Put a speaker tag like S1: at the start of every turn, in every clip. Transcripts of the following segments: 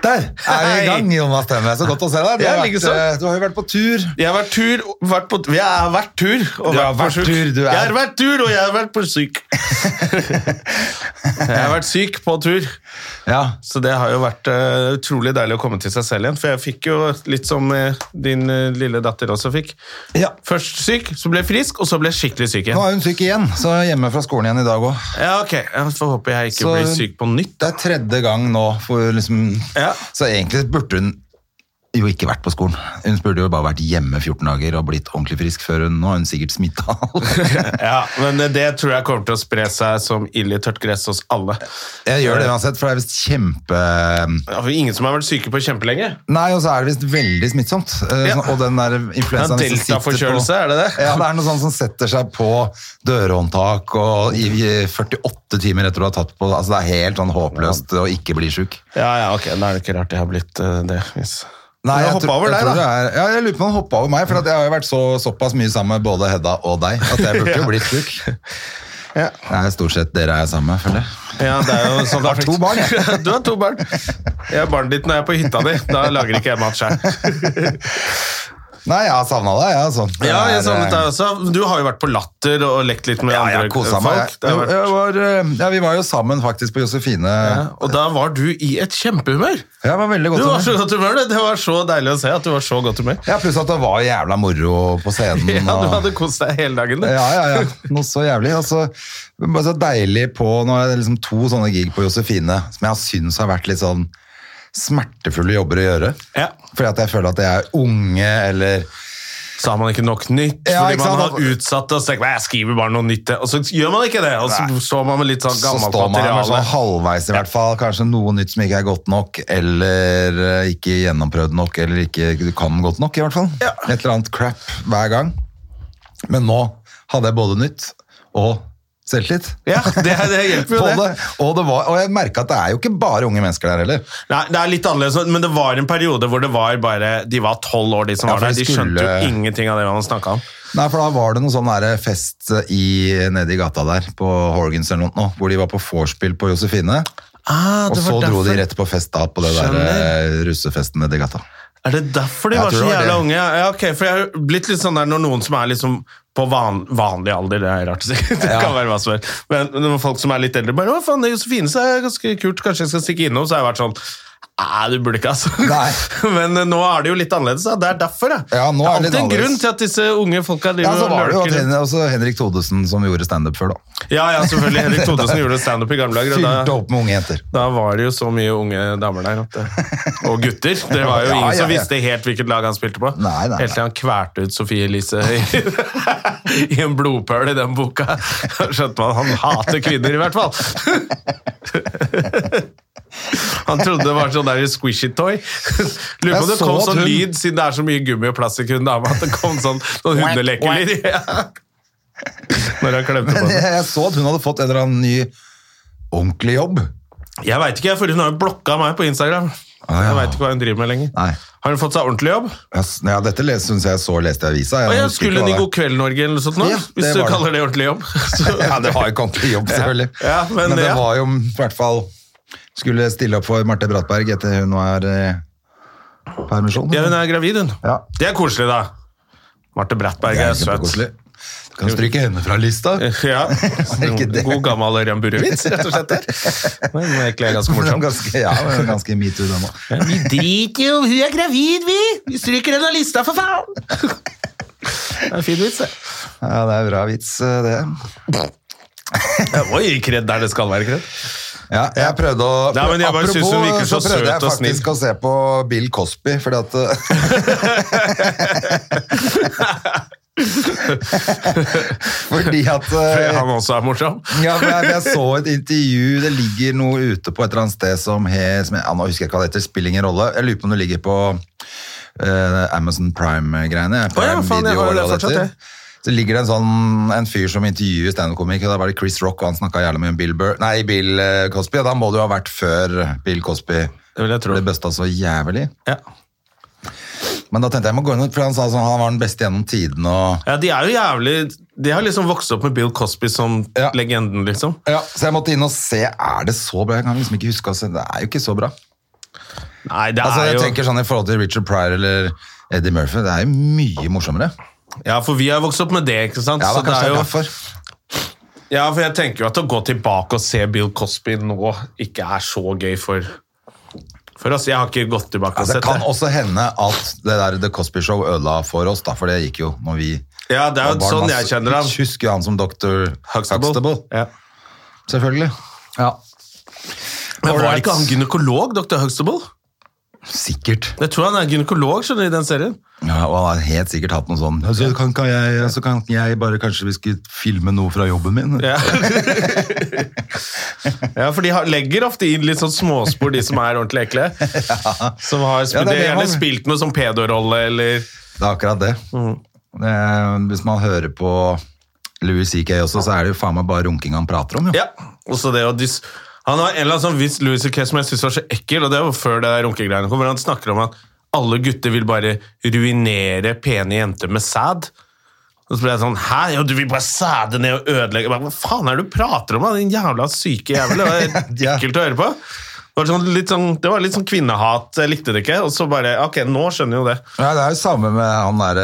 S1: Der er vi
S2: Hei.
S1: i gang, Jon Astemme. Så godt å se deg. Du
S2: Ja,
S1: har, vært,
S2: likeså.
S1: eh, du har jo vært på tur.
S2: Jeg har vært tur, vært på, jeg har vært tur og
S1: Du har
S2: på
S1: vært
S2: sjuk.
S1: tur, du er.
S2: Jeg har vært tur, og jeg har vært på syk. jeg har vært syk på tur,
S1: Ja.
S2: så det har jo vært eh, utrolig deilig å komme til seg selv igjen. For jeg fikk jo litt som eh, din eh, lille datter også fikk.
S1: ja.
S2: Først syk, så ble jeg frisk, og så ble jeg skikkelig syk
S1: Nå
S2: igjen.
S1: er hun syk igjen, så hjemme fra skolen igjen i dag òg.
S2: Ja, ok. Jeg får håpe jeg ikke
S1: Så-
S2: blir syk på nytt.
S1: Det er tredje gang nå, for liksom,
S2: Ja.
S1: så egentlig burde hun jo ikke vært på skolen. Hun burde jo bare vært hjemme 14 dager og blitt ordentlig frisk før hun nå er hun sikkert smitta.
S2: Ja, Men eh, det tror jeg kommer til å spre seg som ild i tørt gress hos alle.
S1: Jeg gjør det uansett, for det er visst kjempe...
S2: Ja, for Ingen som har vært syke på kjempelenge.
S1: Nei, og så er det visst veldig smittsomt. Eh,
S2: Ja.
S1: sånn- Og den der
S2: Ja,
S1: influensaen som sitter på-
S2: Delta-forkjølelse, er det det?
S1: Ja, det er noe sånt som setter seg på dørhåndtak og i i 48 timer etter du har tatt på Altså, det er helt sånn håpløst å ikke bli sjuk.
S2: Ja, ja, ok, Da er det ikke rart jeg har blitt eh, det. Hvis.
S1: Nei,
S2: Men
S1: jeg,
S2: hoppa
S1: tror-
S2: over
S1: jeg
S2: deg, da.
S1: tror det er- Ja, jeg lurer på om han hoppa over meg, for at jeg har jo vært så, såpass mye sammen med både Hedda og deg at jeg burde jo blitt sjuk.
S2: Ja.
S1: Det er jo stort sett dere er sammen med, føler jeg.
S2: Ja, det er jo sånn
S1: Jeg har to barn, jeg.
S2: Du har to barn. Jeg har barnet ditt når jeg er på hytta di. Da lager ikke jeg mat sjøl.
S1: Nei, jeg har savna deg, jeg, altså. Det
S2: Ja, jeg
S1: er,
S2: savnet
S1: eh,
S2: deg også. Du har jo vært på Latter og lekt litt med
S1: Ja,
S2: andre
S1: jeg kosa meg.
S2: folk.
S1: Jeg,
S2: Det har
S1: jeg
S2: vært...
S1: var, eh, ja, vi var jo sammen faktisk på Josefine.
S2: Ja, Og da var du i et kjempehumør.
S1: Jeg var veldig
S2: Du
S1: godt
S2: var
S1: humør.
S2: så godt humør, det. Det var så deilig å se at du var så godt humør.
S1: Ja, pluss at det var jævla moro på scenen.
S2: Ja, du
S1: og-
S2: hadde kost deg hele dagen, du.
S1: Ja, ja, ja. Noe så jævlig. Og så bare så deilig på Nå er det liksom to sånne gig på Josefine som jeg syns har vært litt sånn smertefulle jobber å gjøre.
S2: Ja.
S1: Fordi at jeg føler at jeg er unge, eller
S2: Sa man ikke nok nytt?
S1: Ja,
S2: fordi
S1: ikke
S2: man
S1: sant?
S2: har utsatt det og så tenker man, jeg skriver bare noe nytt. Og så gjør man ikke det, og så står man med litt sånn
S1: så
S2: gammelt
S1: står man her med
S2: materiale.
S1: sånn halvveis i hvert fall. Kanskje noe nytt som ikke er godt nok, eller eh, ikke gjennomprøvd nok, eller ikke du kan godt nok, i hvert fall. Et eller annet crap hver gang. Men nå hadde jeg både nytt og selvtillit.
S2: Ja, det, det hjelper jo
S1: På
S2: det.
S1: det. Og, det var, og jeg merka at det er jo ikke bare unge mennesker der heller.
S2: Nei, det er litt annerledes, men det var en periode hvor det var bare, de var tolv år, de som
S1: Ja,
S2: var
S1: for
S2: der.
S1: de
S2: De skjønte
S1: skulle-
S2: jo ingenting av det man snakka om.
S1: Nei, for da var det noen sånn der fest i, nede i gata der, på Horgans eller noe, nå, hvor de var på vorspiel på Josefine.
S2: Ah,
S1: Og så dro de rett på fest da, på det der
S2: Skjønner.
S1: eh, russefesten nede i gata.
S2: Er det derfor de
S1: Jeg
S2: var
S1: tror
S2: så
S1: det var
S2: jævla
S1: det.
S2: unge? Ja, ja, ok, for jeg har blitt litt sånn der når noen som er liksom på van, vanlig alder, det er rart å si, det kan være hva som er, men når folk som er litt eldre bare, å faen, det er Josefine, så er det ganske kult, kanskje jeg skal stikke innom, så har jeg vært sånn, nei, du burde ikke, altså.
S1: Nei.
S2: Men eh, nå er det jo litt annerledes, da. det er derfor, da.
S1: Ja, nå
S2: det
S1: er
S2: er alltid en
S1: det litt annerledes.
S2: grunn til at disse unge folka
S1: Ja,
S2: driver
S1: så var det jo
S2: og
S1: at
S2: lurker.
S1: Hen- også Henrik Thodesen som gjorde standup før, da.
S2: Ja, ja, selvfølgelig, Henrik Thodesen gjorde stand-up i gamle dager, og da-
S1: Fylte opp med unge jenter.
S2: Da var det jo så mye unge damer der. At det, og gutter. Det var jo
S1: Ja,
S2: ingen
S1: ja,
S2: som
S1: ja.
S2: visste helt hvilket lag han spilte på.
S1: Nei, nei, nei.
S2: Helt til han kvalte ut Sofie Elise i, i en blodpøl i den boka. Da skjønte man han hater kvinner, i hvert fall. Han trodde det var sånn der squishy toy. Lurer på om
S1: Jeg
S2: det
S1: så
S2: kom
S1: at
S2: sånn
S1: hun-
S2: lyd, siden det er så mye gummi og plastikk i hun dama, at det kom sånn noen hundelekkelyd. Ja. Når han klemte på
S1: Men
S2: den.
S1: jeg, jeg så at hun hadde fått en eller annen ny ordentlig jobb.
S2: Jeg veit ikke, for hun har jo blokka meg på Instagram.
S1: Ah, ja.
S2: Jeg vet ikke hva hun driver med lenger.
S1: Nei.
S2: Har hun fått seg ordentlig jobb?
S1: Jeg s- Ja, dette les- syns jeg så leste i avisa.
S2: Og jeg
S1: husker ikke
S2: skulle
S1: hva
S2: hun i
S1: det er.
S2: God kveld Norge eller noe sånt nå?
S1: Ja,
S2: hvis
S1: det
S2: du
S1: var det.
S2: kaller det ordentlig jobb. Så,
S1: Ja, det var jo ikke ordentlig jobb, selvfølgelig.
S2: Ja, men
S1: men, det
S2: ja.
S1: var jo i hvert fall Skulle stille opp for Marte Brattberg etter hun var eh, permisjon.
S2: ja, hun er gravid, hun.
S1: Ja.
S2: Det er koselig, da. Marte Brattberg er søt.
S1: kjempekoselig. Du kan stryke henne fra lista.
S2: Ja, Sånn
S1: ikke det?
S2: God gammel Ørjan Burrevits, rett og slett. der. Men hun er egentlig ganske morsom.
S1: Ganske, ja, hun er ganske metoo, den òg.
S2: Vi driter jo, hun er gravid, vi! Vi stryker henne av lista, for faen! Det er en fin vits, det.
S1: Ja, det er bra vits, eh, det.
S2: Oi, kred der det skal være kred.
S1: Ja, jeg prøvde å
S2: Nei, men jeg bare synes hun virker så
S1: så prøvde jeg
S2: søt og
S1: faktisk
S2: snill.
S1: å se på Bill Cosby, fordi at eh, Fordi at
S2: Fordi
S1: eh,
S2: han også er morsom.
S1: ja, for jeg, jeg så et intervju, det ligger noe ute på et eller annet sted som, he, som jeg, ja, Nå husker jeg ikke hva det heter, spiller ingen rolle. Jeg lurer på om det ligger på eh, Amazon Prime-greiene.
S2: Å ja,
S1: Prime
S2: faen, jeg
S1: Video,
S2: har det
S1: eller hva
S2: fortsatt,
S1: heter.
S2: jeg.
S1: Så ligger det en sånn en fyr som intervjuer standup-komiker, og da var det Chris Rock, og han snakka jævlig mye om Bill, Burr, nei, Bill eh, Cosby, og da må det jo ha vært før Bill Cosby
S2: Det vil jeg tro.
S1: ble busta så jævlig.
S2: Ja.
S1: Men da tenkte jeg jeg må gå inn, for han sa sånn, han var den beste gjennom tidene, og
S2: ja, de er jo jævlig De har liksom vokst opp med Bill Cosby som
S1: Ja.
S2: legenden, liksom.
S1: ja, Så jeg måtte inn og se, er det så bra? Jeg kan liksom ikke huske, altså, det er jo ikke så bra.
S2: Nei, det
S1: Altså,
S2: er
S1: jeg
S2: jo
S1: tenker sånn I forhold til Richard Pryor eller Eddie Murphy, det er jo mye morsommere.
S2: Ja, for vi har vokst opp med det, ikke sant?
S1: Ja, da,
S2: Så det
S1: kanskje
S2: er
S1: det er
S2: jo
S1: derfor.
S2: Ja, for jeg tenker jo at å gå tilbake og se Bill Cosby nå ikke er så gøy for For oss. Jeg har ikke gått tilbake
S1: Ja,
S2: og
S1: Altså, det
S2: sett
S1: kan
S2: det.
S1: også hende at det der The Cosby Show ødela for oss, da, for det gikk jo når vi
S2: Ja, det er jo
S1: var barn.
S2: sånn jeg kjenner han.
S1: Vi husker jo han som Dr. Huxtable.
S2: Ja.
S1: Selvfølgelig. Ja.
S2: Men var
S1: Alright.
S2: ikke han gynekolog, dr. Huxtable?
S1: Sikkert.
S2: Jeg tror han er gynekolog skjønner du, i den serien.
S1: Ja, og han har helt sikkert hatt noe sånn ja, så kan, kan jeg, så kan jeg bare kanskje vi skulle filme noe fra jobben min?
S2: Ja, ja for de har, legger ofte inn litt sånn småspor, de som er ordentlig ekle. Som har
S1: Ja,
S2: spilt,
S1: det
S2: de
S1: er det
S2: har gjerne
S1: man-
S2: spilt noe sånn pedorolle, eller
S1: Det er akkurat det. Eh, hvis man hører på Louis CK også, så er det jo faen meg bare runking han prater om, jo.
S2: Ja, også det å dys... Han har en eller annen sånn viss Louis C.K. som jeg synes var så ekkel, og det var før det der runkegreiene kom, hvor han snakker om at alle gutter vil bare ruinere pene jenter med sæd. Og så ble jeg sånn, hæ? Ja, du vil bare sæde ned og ødelegge. Jeg bare, Hva faen er det du prater om, da? din jævla syke jævel? Det var helt
S1: Ja.
S2: ekkelt å høre på. Det var, sånn, litt sånn, det var litt sånn kvinnehat, jeg likte det ikke, og så bare, ok, nå skjønner jeg jo det.
S1: Ja, det er jo samme med han der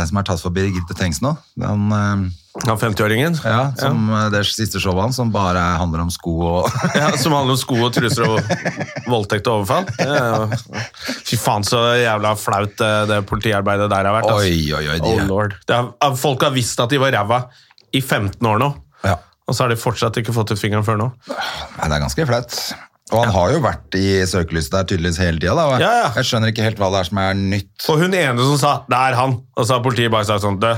S1: eh, som er tatt for Birgitte Tengs nå. Han, eh,
S2: Han 50-åringen,
S1: ja, som, eh, Det er siste showet hans som bare er- handler om sko og
S2: Ja, som handler om sko og truser og voldtekt og overfall. Ja, Fy faen, så jævla flaut eh, det politiarbeidet der har vært. ass.
S1: Oi, oi, oi, de-
S2: oh, lord. Det er, at folk har visst at de var ræva i 15 år nå,
S1: Ja.
S2: og så har de fortsatt ikke fått ut fingeren før nå.
S1: Nei, det er ganske flaut. Og han har jo vært i søkelyset der tydeligvis hele tida. da.
S2: Ja, ja.
S1: Jeg skjønner ikke helt hva det er som er nytt.
S2: Og hun ene som sa 'det er han', og så har politiet bare sagt sånn 'dø,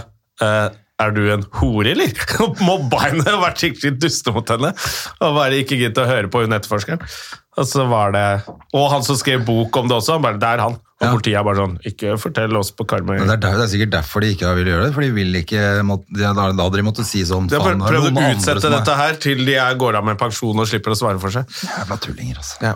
S2: eh, er du en hore, eller?' Og mobba henne og vært skikkelig duste mot henne. Og bare ikke gidd å høre på hun etterforskeren. Og så var det Og han som skrev bok om det også, han bare 'det er han'. Og politiet er bare sånn 'ikke fortell oss på Karmøy'.
S1: Men Det er, der, det er sikkert derfor de ikke har villet gjøre det. for de vil ikke, må- de, Da da hadde de måttet si sånn
S2: De har
S1: faen,
S2: prøvd,
S1: det er noen
S2: prøvd å
S1: andre
S2: utsette
S1: som er-
S2: dette her til de er, går av med pensjon og slipper å svare for seg.
S1: Jævla tullinger, altså.
S2: Ja.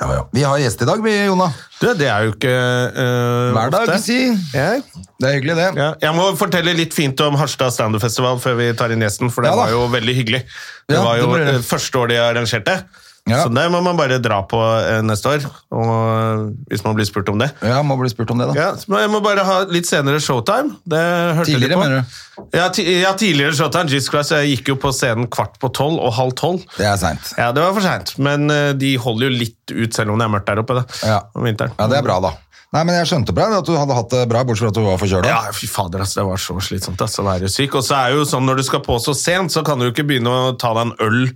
S1: Ja, ja. Vi har gjest i dag, vi, Jona.
S2: Du, det er jo ikke eh,
S1: Hver dag,
S2: ofte.
S1: ikke si.
S2: Ja.
S1: Det er hyggelig, det.
S2: Ja. Jeg må fortelle litt fint om Harstad standup-festival før vi tar inn gjesten, for det
S1: Ja da.
S2: var jo veldig hyggelig. Det
S1: Ja,
S2: var jo
S1: det ble det.
S2: eh, første år de arrangerte.
S1: Ja.
S2: Så det må man bare dra på eh, neste år, og, eh, hvis man blir spurt om det.
S1: Ja, Må bli spurt om det, da.
S2: Ja, så jeg må bare ha litt senere showtime. Det hørte
S1: Tidligere,
S2: de på.
S1: mener du?
S2: Ja, ti ja, tidligere showtime. Jesus Christ, jeg gikk jo på scenen kvart på tolv og halv tolv.
S1: Det er seint.
S2: Ja, det var for seint, men eh, de holder jo litt ut selv om det er mørkt der oppe da,
S1: Ja.
S2: om vinteren.
S1: Ja, det er bra, da. Nei, men jeg skjønte bra at du hadde hatt det bra, bortsett fra at du var forkjøla.
S2: Ja, fy fader, ass, det var så slitsomt ass, å være syk. Og så er jo sånn, når du skal på så sent, så kan du jo ikke begynne å ta deg en øl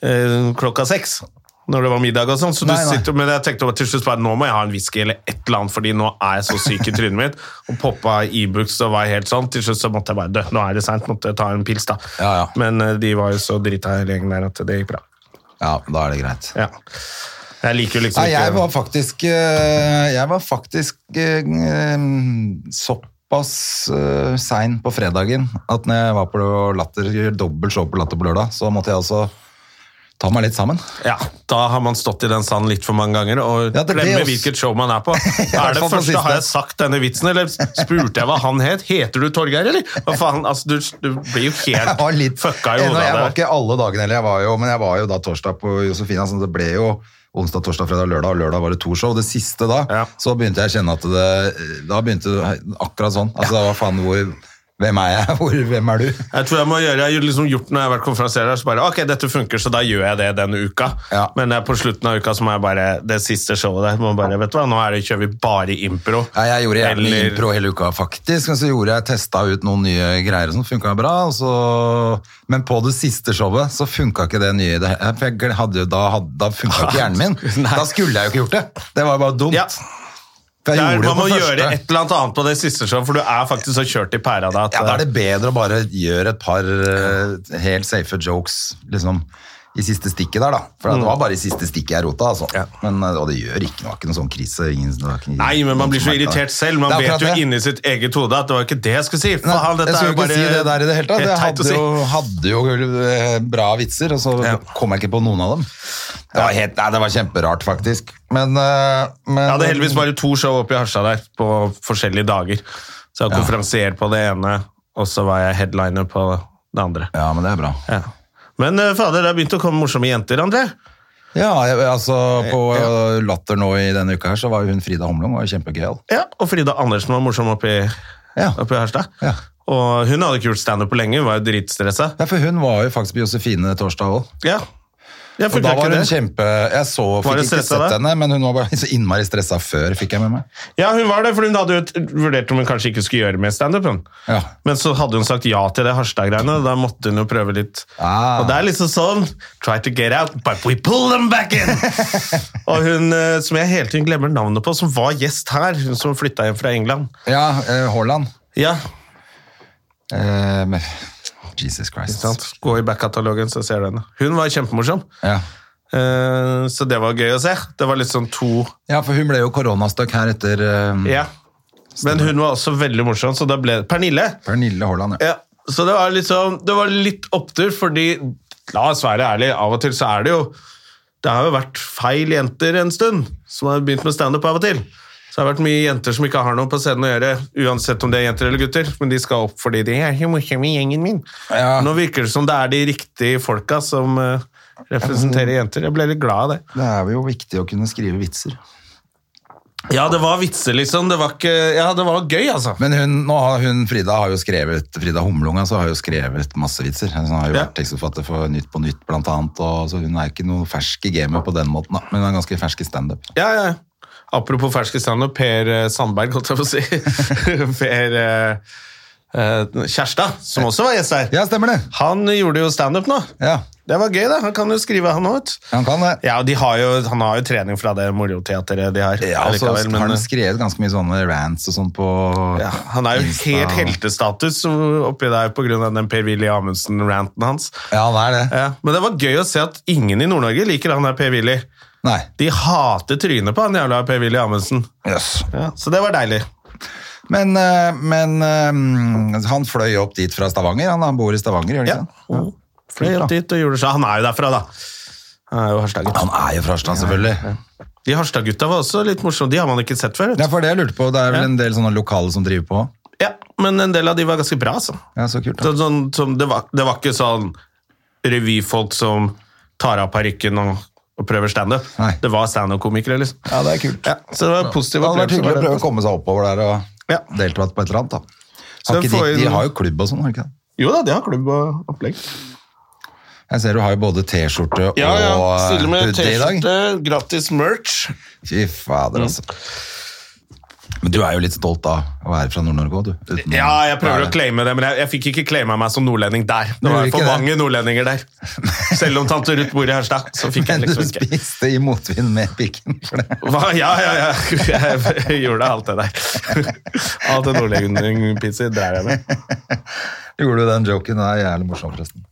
S2: eh, klokka seks. Når det var middag og sånn. Så du
S1: Nei, nei.
S2: sitter, men jeg tenkte til slutt bare, nå må jeg ha en whisky eller et eller annet, fordi nå er jeg så syk i trynet mitt. Og poppa Ibux og var helt sånn. Til slutt så måtte jeg bare dø. Nå er det seint, måtte jeg ta en pils, da.
S1: Ja, ja.
S2: Men eh, de var jo så drita i gjengen der at det gikk bra.
S1: Ja, da er det greit.
S2: Ja. Jeg liker jo liksom
S1: Nei,
S2: ikke
S1: jeg var faktisk eh, Jeg var faktisk eh, eh, såpass eh, sein på fredagen at når jeg var på Latter, dobbelt show på Latter på lørdag, så måtte jeg også ta meg litt sammen.
S2: Ja, da har man stått i den sanden litt for mange ganger og
S1: Ja, det blir
S2: glemmer
S1: også-
S2: hvilket show man er på.
S1: hvert
S2: Er det
S1: fall på
S2: første,
S1: siste.
S2: har jeg sagt denne vitsen, eller spurte jeg hva han het? Heter du Torgeir, eller? Hva faen, altså, du, du blir jo
S1: Jeg var
S2: helt
S1: litt
S2: fucka i
S1: Nei,
S2: hodet
S1: Jeg
S2: av
S1: var
S2: det.
S1: ikke alle dagene heller, jeg var jo, men jeg var jo da torsdag på Josefina, så det ble jo onsdag, torsdag, fredag, lørdag, og lørdag var det to show. Det siste da,
S2: Ja.
S1: så begynte jeg å kjenne at det Da begynte det akkurat sånn. Altså, det var faen hvor Hvem er jeg? Hvor, hvem er du?
S2: Jeg tror jeg må gjøre, jeg har liksom gjort når jeg har vært konferansier her, så bare, ok, dette funker, så da gjør jeg det denne uka.
S1: Ja.
S2: Men jeg, på slutten av uka så må jeg bare, det siste showet der, må jeg bare, vet du hva, nå er det, kjører vi bare impro.
S1: Nei, jeg gjorde jævlig
S2: Eller-
S1: impro hele uka, faktisk. Men så gjorde jeg testa ut noen nye greier som funka bra. Og så... Men på det siste showet så funka ikke det nye. i det hele- For jeg gle- hadde, jo- da hadde, da funka ikke hjernen min.
S2: Nei.
S1: Da skulle jeg jo ikke gjort det. Det var bare dumt.
S2: Ja.
S1: For
S2: Det
S1: jeg
S2: er,
S1: gjorde det
S2: man må
S1: på
S2: gjøre
S1: første.
S2: et eller annet annet på det siste showet, for du er faktisk så kjørt i pæra da. at- eh,
S1: Ja, da er det bedre å bare gjøre et par eh, helt safe jokes liksom, i siste stikket der, da. For det var bare i siste stikket jeg rota, altså.
S2: Mm. Ja.
S1: Men, eh, og det gjør ikke noe, ikke noe sånn krise. Ingen, det var ikke-
S2: Nei, men man blir så
S1: ingen som merker
S2: irritert
S1: det.
S2: selv. Man
S1: Det er
S2: vet
S1: akkurat
S2: jo
S1: det.
S2: inni sitt eget hode at det var ikke det jeg skulle si.
S1: Nei,
S2: Faen, dette
S1: jeg
S2: er
S1: skulle
S2: jo
S1: ikke
S2: bare
S1: si det der i det hele tatt.
S2: helt
S1: Jeg
S2: teit å
S1: hadde
S2: si.
S1: jo, hadde jo eh, bra vitser, og så
S2: Ja.
S1: kom jeg ikke på noen av dem. Det var, helt, nei, det var kjemperart, faktisk. Men, eh, men
S2: Jeg hadde heldigvis bare to show oppe i Harstad der på forskjellige dager. Så jeg var konferansier på det ene, og så var jeg headliner på det andre.
S1: Ja, men det er bra.
S2: Ja. Men eh, fader, det har begynt å komme morsomme jenter, André.
S1: Ja, jeg, altså På eh, Latter nå i denne uka her, så var jo hun Frida Homlung var jo kjempegøyal.
S2: Ja, og Frida Andersen var morsom oppe i,
S1: Ja.
S2: oppe i Harstad.
S1: Ja.
S2: Og hun hadde ikke gjort standup på lenge, hun var jo dritstressa.
S1: Ja, for hun var jo faktisk på Josefine torsdag òg.
S2: Ja. Jeg
S1: Og da
S2: fulgte
S1: var
S2: ikke
S1: hun
S2: det.
S1: kjempe Jeg så,
S2: hun
S1: fikk ikke
S2: stressa
S1: sett
S2: da?
S1: henne, men hun var bare så innmari stressa før, fikk jeg med meg.
S2: Ja, hun var det, for hun hadde jo t- vurdert om hun kanskje ikke skulle gjøre mer standup. hun.
S1: Ja.
S2: Men så hadde hun sagt ja til det Harstad-greiene, og da måtte hun jo prøve litt.
S1: Ah.
S2: Og det er liksom sånn Try to get out, but we pull them back in! og hun eh, som jeg hele tiden glemmer navnet på, som var gjest her, hun som flytta hjem fra England.
S1: Ja, eh, Haaland.
S2: Ja,
S1: Eh, men- Jesus Christ.
S2: ikke sant? Gå i back-katalogen, så ser du henne. Hun var kjempemorsom,
S1: Ja.
S2: Eh, så det var gøy å se. Det var litt sånn to
S1: ja, for hun ble jo koronastuck her etter eh,
S2: Ja. Men hun var også veldig morsom, så da ble Pernille!
S1: Pernille Haaland. Ja.
S2: Ja, så det var, liksom, det var litt opptur, fordi la oss være ærlig, av og til så er det jo Det har jo vært feil jenter en stund som har begynt med standup av og til. Så det har vært mye jenter som ikke har noe på scenen å gjøre, uansett om det er jenter eller gutter, men de skal opp fordi de er jo morsomme i gjengen min.
S1: Ja.
S2: Nå virker det som det er de riktige folka som eh, representerer jenter. Jeg ble litt glad av det.
S1: Det er jo viktig å kunne skrive vitser.
S2: Ja, det var vitser, liksom. Det var ikke Ja, det var gøy, altså.
S1: Men hun, nå har hun, Frida har jo skrevet Frida Humlung altså, har jo skrevet masse vitser. Hun har jo
S2: Ja.
S1: vært tekstforfatter for Nytt på Nytt, blant annet. Og, så hun er ikke noe fersk i gamet på den måten, da. men hun er ganske fersk i standup.
S2: Ja, ja. Apropos ferske standup, Per eh, Sandberg, holdt jeg på å si. per eh, eh, Kjærstad, som også var gjest her.
S1: Ja, stemmer det!
S2: Han gjorde jo standup nå.
S1: Ja,
S2: Det var gøy, da. Han kan jo skrive, han òg.
S1: Han kan det.
S2: Ja, og de har jo, han har jo trening fra det moroteateret de har.
S1: Ja, og så
S2: allikevel, men,
S1: har han
S2: eh,
S1: skrevet ganske mye sånne rants og sånn på
S2: ja, han er jo
S1: Insta
S2: helt
S1: og-
S2: heltestatus oppi der pga. den Per-Willy Amundsen-ranten hans.
S1: Ja, han er det.
S2: Ja, men det var gøy å se at ingen i Nord-Norge liker han der Per-Willy.
S1: Nei.
S2: De hater trynet på han jævla Per-Willy Amundsen.
S1: Yes.
S2: Ja, så det var deilig.
S1: Men, eh, men eh, han fløy opp dit fra Stavanger. Han, han bor i Stavanger, gjør han ikke
S2: Ja.
S1: det?
S2: Fløy opp dit og gjorde seg. Han er jo derfra, da. Han er jo Harstad-gutt.
S1: Han er jo fra Harstad, selvfølgelig.
S2: De Harstad-gutta var også litt morsomme. De har man ikke sett før.
S1: Det
S2: Vet.
S1: er for det jeg lurte på. Det er vel
S2: Ja.
S1: en del sånne lokale som driver på.
S2: du. Ja, men en del av de var ganske bra, altså.
S1: Ja, så kult. Da.
S2: Så, sånn, som det, var, det var ikke sånn revyfolk som tar av parykken og, og prøver standup.
S1: Nei.
S2: Det var standup-komikere, liksom.
S1: Ja, det er kult.
S2: Ja, så det var
S1: Det
S2: positiv
S1: hadde vært
S2: opplevelse.
S1: hyggelig å prøve å
S2: var det.
S1: komme seg oppover der og
S2: Ja.
S1: delta på et eller annet. da.
S2: Så
S1: Har ikke
S2: får
S1: de,
S2: vi-
S1: de har jo klubb og sånn, har de ikke det?
S2: Jo da, de har klubb og opplegg.
S1: Jeg ser du har jo både T-skjorte og
S2: Ja, ja.
S1: eh,
S2: Stiller med
S1: hoodie i dag.
S2: T-skjorte, gratis merch.
S1: Fy fader, altså. Men du er jo litt stolt av å være fra Nord-Norge òg, du. uten å
S2: Ja, jeg prøver
S1: være-
S2: å claime det, men jeg, jeg fikk ikke claima meg som nordlending der.
S1: Du
S2: Det var
S1: gjorde
S2: for
S1: ikke det.
S2: mange nordlendinger der. Selv om tante Ruth bor i Harstad, så fikk jeg
S1: Men du
S2: liksom ikke
S1: spiste i motvind med pikken for det.
S2: Hva? Ja, ja, ja. Jeg gjorde alt det der. Alt det nordlendingpizza drar jeg med.
S1: Gjorde du den joken? Den er jævlig morsom, forresten.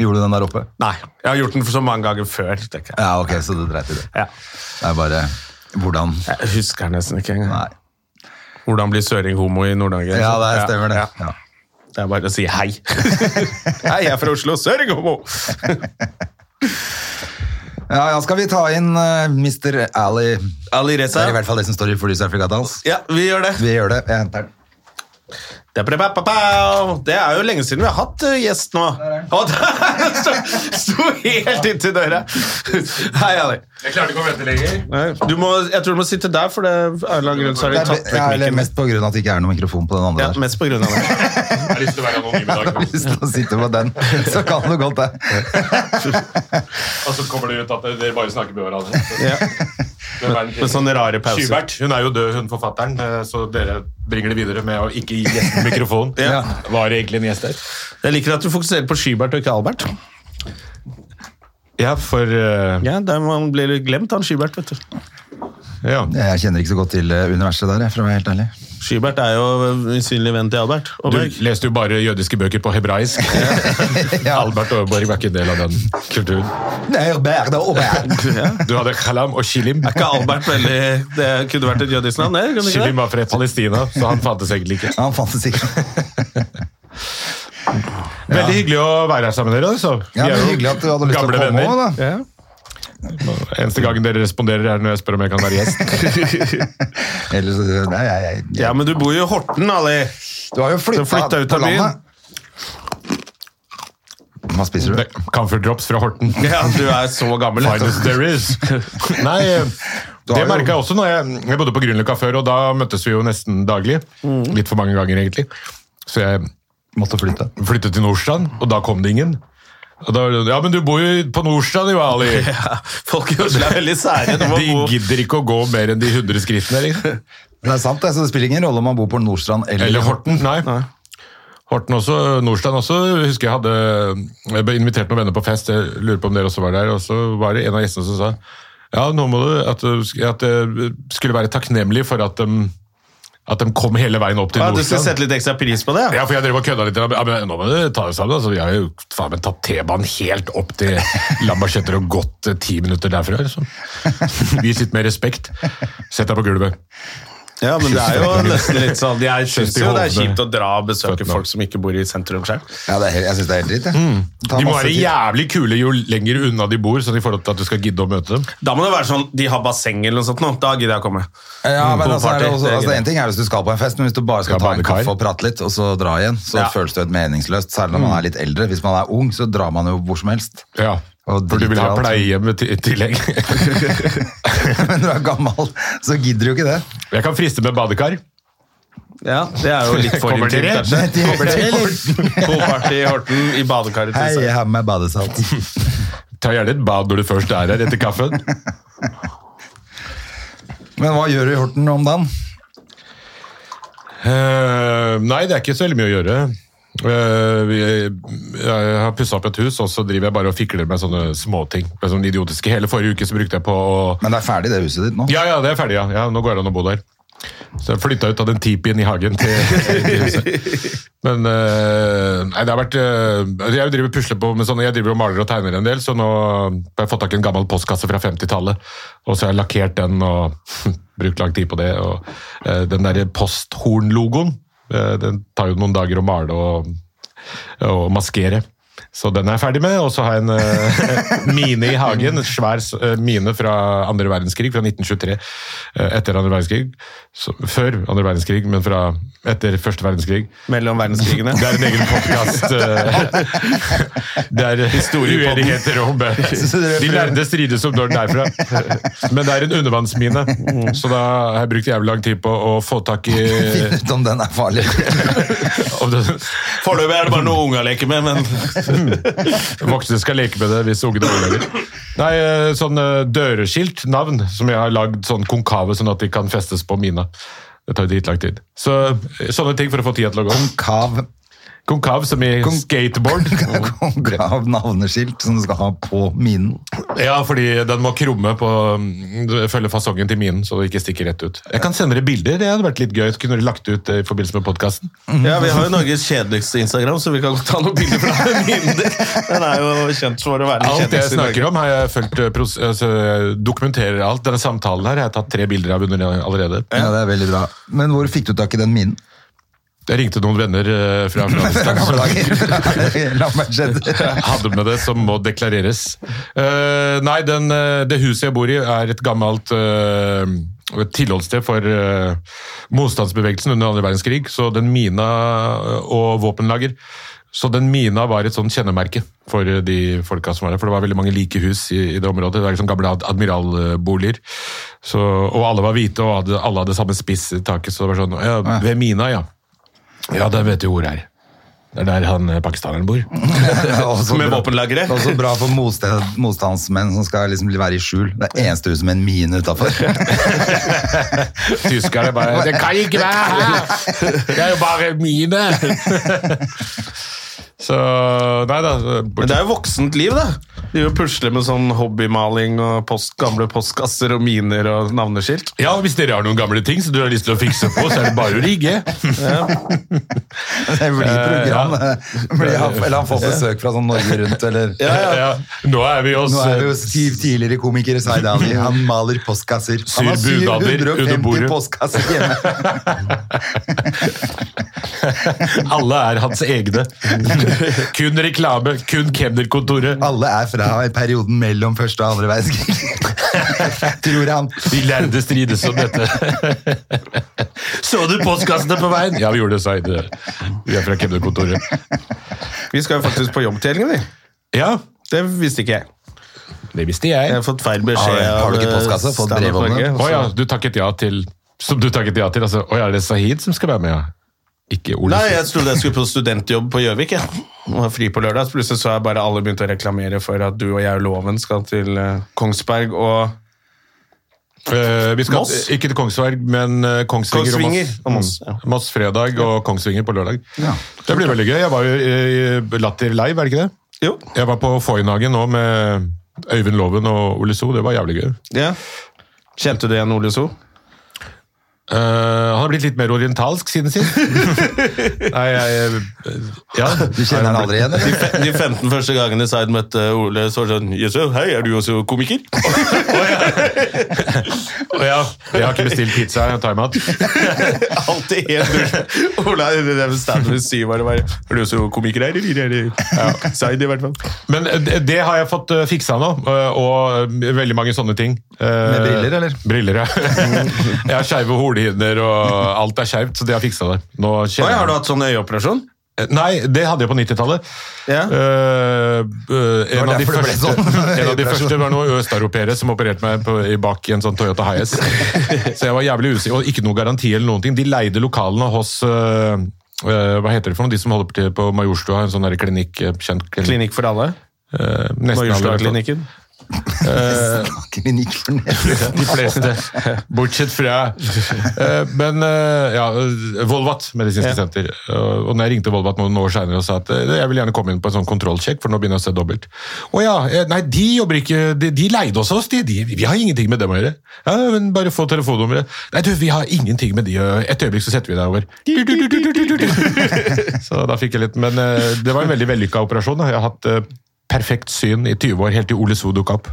S1: Gjorde du den der oppe?
S2: Nei. Jeg har gjort den så mange ganger før. tenker jeg.
S1: Ja, ok, så du dreit i det.
S2: Ja.
S1: Det er bare hvordan
S2: Jeg husker nesten ikke engang.
S1: Nei.
S2: Hvordan blir søring homo i Nord-Norge?
S1: Ja, det er- stemmer det.
S2: Ja, ja.
S1: Ja.
S2: Det er bare å si hei. Hei, jeg er fra Oslo. Søring homo!
S1: Ja, ja, skal vi ta inn eh, Mr. Ali?
S2: Ali
S1: Det
S2: Reza.
S1: er i hvert fall det som står i flysertifikatet hans.
S2: Ja, vi gjør det.
S1: Vi gjør det. Jeg henter den.
S2: Det er jo lenge siden vi har hatt eh, gjest nå. Og der sto, sto helt inntil døra. Hei, Ali.
S3: Jeg klarte ikke å vente lenger.
S2: Nei, Du må, jeg tror du må sitte der, for det er av en eller annen grunn så har
S1: Det
S2: de
S1: er,
S2: tatt
S1: ja,
S2: vekk
S1: eller
S2: mikken.
S1: mest på grunn av at det ikke er noe mikrofon på den andre
S2: Ja,
S1: der.
S2: mest på grunn av det.
S3: Jeg har lyst til å være anonym i dag. nå.
S1: Hvis du sitter på den, så kan du godt det.
S3: Og så kommer det ut at dere bare snakker med hverandre.
S2: Ja.
S3: Hvem er den
S2: Med
S3: tredje?
S2: sånne rare pauser.
S3: Skybert, hun er jo død, hun forfatteren, eh, så dere bringer det videre med å ikke gi gjesten mikrofon.
S2: Ja.
S3: Var det egentlig en gjest der?
S2: Jeg liker at du fokuserer på Skybert og ikke Albert.
S3: Ja, for eh,
S2: Ja, der Man blir glemt, han Skybert. vet du.
S3: ja.
S1: Jeg kjenner ikke så godt til eh, universet der, jeg, for å være helt ærlig.
S2: Skybert er jo usynlig venn til Albert.
S3: Du
S2: Aaberg.
S3: leste jo bare jødiske bøker på hebraisk. Albert Aaberg var ikke en del av den kulturen.
S2: Ja.
S3: Du hadde Kalam og Shilim.
S2: Er ikke Albert veldig Det kunne vært et jødisk navn, det? kunne det
S3: Shilim
S2: ikke det?
S3: var fra Palestina, så han fantes egentlig ikke.
S1: Han fantes ikke.
S3: Veldig hyggelig å være her sammen med dere. altså. Vi
S1: Ja,
S3: er
S1: men
S3: jo
S1: hyggelig at du hadde lyst til å
S3: gamle
S1: komme
S3: venner.
S1: også, da.
S3: Ja. Eneste gangen dere responderer, er når jeg spør om jeg kan være gjest.
S1: Ellers, eh, nei, jeg, jeg,
S2: Ja, men du bor jo i Horten, Ali.
S1: Du har jo
S2: Du flytta
S1: flytta
S2: ut av
S1: på
S2: byen.
S1: landet. Hva spiser du?
S3: Comfort drops fra Horten.
S2: Ja, Du er så gammel.
S3: Finest there is. Nei,
S1: har
S3: det
S1: jo-
S3: merka jeg også når jeg, jeg bodde på Grünerløkka før, og da møttes vi jo nesten daglig. Litt for mange ganger, egentlig. Så jeg
S1: Måtte flytte.
S3: flyttet til Nordstrand, og da kom det ingen. Og da, var det, ja, men du bor jo på Nordstrand, jo, Ali!
S2: Ja, folk i Oslo er veldig sære. Du må
S3: De
S2: bo
S3: gidder ikke å gå mer enn de 100 skrittene. liksom.
S1: Det er sant, det, så det spiller ingen rolle om man bor på Nordstrand eller,
S3: Eller Horten. Nei. Horten også, Nordstrand også. Jeg husker jeg hadde jeg ble invitert noen venner på fest, jeg lurer på om dere også var der. Og så var det en av gjestene som sa ja, nå må du, at, du sk- at jeg skulle være takknemlig for at de, at de kom hele veien opp til
S2: ja, Du skal
S3: Nordstrand.
S2: sette litt ekstra pris på det?
S3: Ja, for jeg drev og kødda litt. Ja, men nå må du ta det sammen. Altså, vi har jo faen meg tatt T-banen helt opp til Lambertseter og gått eh, ti minutter derfra. Liksom. Vi sitter med respekt. Sett deg på gulvet.
S2: Ja, men det er jo nesten litt sånn Jeg syns
S3: Kjøpt i
S2: jo det er
S3: Hovne.
S2: kjipt å dra og besøke
S3: Født nå.
S2: folk som ikke bor i sentrum selv.
S1: Ja, det er, helt- jeg syns det er helt dritt. jeg.
S2: Mm.
S1: Ta
S3: De må
S1: masse
S3: være
S1: tid.
S3: jævlig kule jo lenger unna de bor, sånn i forhold til at du skal gidde å møte dem.
S2: Da må det være sånn De har basseng eller noe sånt nå. Da gidder jeg å komme.
S1: Ja, men
S2: på
S1: altså, er
S2: Mm, party.
S1: det også,
S2: Det er
S1: altså,
S2: greit.
S1: En ting er hvis du skal på en fest, men hvis du bare skal
S3: Ja,
S1: ta en
S3: badekar.
S1: kaffe og prate litt, og så dra igjen, så
S2: Ja. Mm.
S1: føles det jo helt meningsløst. Særlig når man er litt eldre. Hvis man er ung, så drar man jo hvor som helst.
S3: Ja,
S1: Og
S3: For du vil ha
S1: driter i alt.
S3: pleiehjem i ti- tillegg.
S1: men når du er gammel, så gidder du jo ikke det.
S3: Jeg kan friste med badekar.
S2: Ja, det er jo litt for
S3: Kommer
S2: intimt,
S3: dere?
S2: kanskje.
S1: De-
S2: Kommer dere, eller? Poolparty i Horten, i badekaret
S1: Hei,
S2: til
S1: jeg
S2: seg.
S1: har med meg badesalt.
S3: Ta gjerne et bad når du først er her etter kaffen.
S1: Men hva gjør du i Horten om dagen?
S3: Eh, nei, det er ikke så veldig mye å gjøre. Eh, vi- jeg har pussa opp et hus, og så driver jeg bare og fikler med sånne småting. Med Sånne idiotiske. Hele forrige uke så brukte jeg på å
S1: Men det er ferdig, det huset ditt nå.
S3: Ja, ja, det er ferdig, ja. ja nå går det an å bo der. Så jeg flytta ut av den tipien i hagen til, til huset. Men eh, nei, det har vært eh, Jeg driver og pusler på med sånne, jeg driver og maler og tegner en del, så nå har jeg fått tak i en gammel postkasse fra 50-tallet. Og så har jeg lakkert den og brukt lang tid på det. Og eh, den derre posthornlogoen, eh, den tar jo noen dager å male og, og maskere. Så den er jeg ferdig med, og så har jeg en eh, mine i hagen, en svær eh, mine fra andre verdenskrig, fra 1923, eh, etter andre verdenskrig, så, før andre verdenskrig, men fra etter første verdenskrig.
S2: Mellom verdenskrigene.
S3: Det er en egen podcast. eh, det er uenigheter om eh, De lærde strides om når den er fra. Men det er en undervannsmine, så da har jeg brukt jævlig lang tid på å få tak i
S2: eh.
S1: Finn ut om den er farlig.
S3: om det-
S2: Foreløpig er det bare noe unger leker med, men
S3: Voksne skal leke med det hvis ungene overlever. Nei, eh, sånn eh, døreskilt navn som jeg har lagd sånn konkave, sånn at de kan festes på mina. Det tar jo dritlang tid. Så eh, sånne ting for å få tida til å gå.
S1: Kav,
S3: Konkav som i
S1: Kon-
S3: skateboard.
S1: kav navneskilt som du skal ha på minen.
S3: Ja, fordi den må krumme på mm, Følge fasongen til minen, så det ikke stikker rett ut. Jeg kan sende dere bilder, det hadde vært litt gøy. Så kunne dere lagt det ut eh, i forbindelse med podkasten.
S2: Ja, vi har jo Norges kjedeligste Instagram, så vi kan godt ta noen bilder fra den minder. Den er jo kjent for å være den
S3: Alt jeg
S2: kjedeligste i
S3: snakker
S2: Norge.
S3: om, har jeg følt eh, pros- altså, jeg dokumenterer alt. Denne samtalen her jeg har jeg tatt tre bilder av under allerede.
S1: Ja, det er veldig bra. Men hvor fikk du tak i den minen?
S3: Jeg ringte noen venner eh, fra
S1: Fra
S3: Afghanistan
S1: gamle
S3: som
S1: dager. La meg skjedde.
S3: hadde med det, som må deklareres. Eh, nei, den, eh, det huset jeg bor i er et gammelt eh, tilholdssted for eh, motstandsbevegelsen under andre verdenskrig, så den mina eh, og våpenlager. Så den mina var et sånn kjennemerke for eh, de folka som var der, for det var veldig mange like hus i, i det området. Det var liksom gamle ad- admiralboliger. Så, og alle var hvite, og hadde, alle hadde samme spiss i taket, så det var sånn, ja, ved mina, ja. Ja, der vet du hvor det er. Det er der han eh, pakistaneren bor.
S1: Også
S2: Med
S1: altså, bra-
S2: våpenlagre.
S1: Også bra for motstand, motstandsmenn som skal liksom være i skjul. Det er eneste huset med en mine utafor.
S3: Tyskerne bare Det kan ikke være her! Det er jo bare mine! Så Nei da.
S2: Men
S3: bortsett-
S2: det er jo voksent liv, da. De jo pusler med sånn hobbymaling og post, gamle postkasser og miner og navneskilt.
S3: Ja, Hvis dere har noen gamle ting som du har lyst til å fikse på, så er det bare å rigge.
S1: Det blir program.
S3: Eh,
S1: Blir han, eller han får besøk fra sånn Norge Rundt, eller
S3: Ja, Nå er vi oss
S1: Nå er det jo syv tidligere komikere, Zaid Ali. Han maler postkasser. Han har
S3: Syr bunader under
S1: 750
S3: bordet.
S1: postkasser hjemme.
S3: Alle er hans egne. Kun reklame, kun kemnerkontoret.
S1: Alle er fra perioden mellom første og andre verdenskrig. Tror han.
S3: De lærde strides om dette. Så du postkassene på veien? Ja, vi gjorde det, Zaid. Vi er fra kemnerkontoret.
S2: Vi skal jo faktisk på jobb til helgen, vi.
S3: Ja,
S2: Det visste ikke jeg.
S3: det visste jeg.
S2: Jeg har fått feil beskjed.
S1: Har du- har du ikke
S2: av, eh,
S1: postkasse? Fått
S2: Standup
S1: brev om det?
S2: Norge, og
S3: Å
S2: så-
S3: ja, du takket ja til Som du takket ja til? Altså, å ja, er det Sahid som skal være med? ja? Ikke Ole
S2: Nei, jeg trodde jeg skulle på studentjobb på Gjøvik. jeg. Og var fri på lørdag. Så plutselig så har bare alle begynt å reklamere for at du og jeg og Loven skal til eh, Kongsberg og
S3: Eh, vi skal,
S2: Moss?
S3: Ikke til Kongsberg, men eh, Kongsvinger,
S2: Kongsvinger
S3: og Moss.
S2: og Moss,
S3: Mm. Moss fredag og Kongsvinger på lørdag.
S1: Ja.
S3: Det blir veldig gøy. Jeg var jo i Latter Live, er det ikke det?
S2: Jo.
S3: Jeg var på Foynhagen nå med Øyvind Loven og Ole So, det var jævlig gøy.
S2: Ja. Kjente du igjen Ole So?
S3: Eh, han har blitt litt mer orientalsk siden sist. Nei, jeg eh, ja.
S1: Du kjenner han aldri igjen, eller?
S2: De 15 første gangene Zaid møtte Ole, så var det sånn Jøss, hei, er du også komiker?
S3: Å ja, jeg har ikke bestilt pizza, jeg tar meg at.
S2: Alltid helt dusj. Ole er det der standup syv år og bare Er du også komiker her, eller? Er det- Ja. Zaid, i hvert fall.
S3: Men eh, det, det har jeg fått eh, fiksa nå, eh, og eh, veldig mange sånne ting. Eh,
S1: Med briller, eller?
S3: Briller, ja. jeg har skeive hornhinner, og alt er skeivt, så det har fiksa det. Nå
S2: Oi,
S3: kjenner jeg-
S2: har du hatt sånn øyeoperasjon?
S3: Nei, det hadde jeg på 90-tallet.
S2: Ja.
S3: Eh, eh, en,
S1: var
S3: av de
S1: derfor det ble
S3: første-
S1: sånn.
S3: en av de første var noen østeuropeere som opererte meg på, i bak i en sånn Toyota Hiace. Så jeg var jævlig usikker, og ikke noe garanti eller noen ting. De leide lokalene hos eh, eh, hva heter det for noe? De som holder til på Majorstua, en sånn der klinikk, eh, kjent klinikk.
S2: Klinikk for alle?
S3: Eh, nesten alle-
S2: Majorstua-klinikken?
S1: Klinikk for nesen.
S3: Eh, De fleste. Bortsett fra eh, Men eh, ja, Volvat medisinske
S2: Ja.
S3: senter. Eh, Og og når jeg ringte Volvat noen år senere og sa at eh, jeg vil gjerne komme inn på en sånn kontrollsjekk, for nå begynner jeg å se dobbelt. Å ja, eh, nei, de jobber ikke De, de leide også oss, de, de. Vi har ingenting med dem å gjøre. Ja, men bare få telefonnummeret. Nei, du, vi har ingenting med de å gjøre. Et øyeblikk, så setter vi deg over. Du, du, du, du, du, du, du. Så da fikk jeg litt Men eh, det var en veldig vellykka operasjon. da. Jeg har hatt eh, perfekt syn i 20 år, helt til Ole So dukka opp.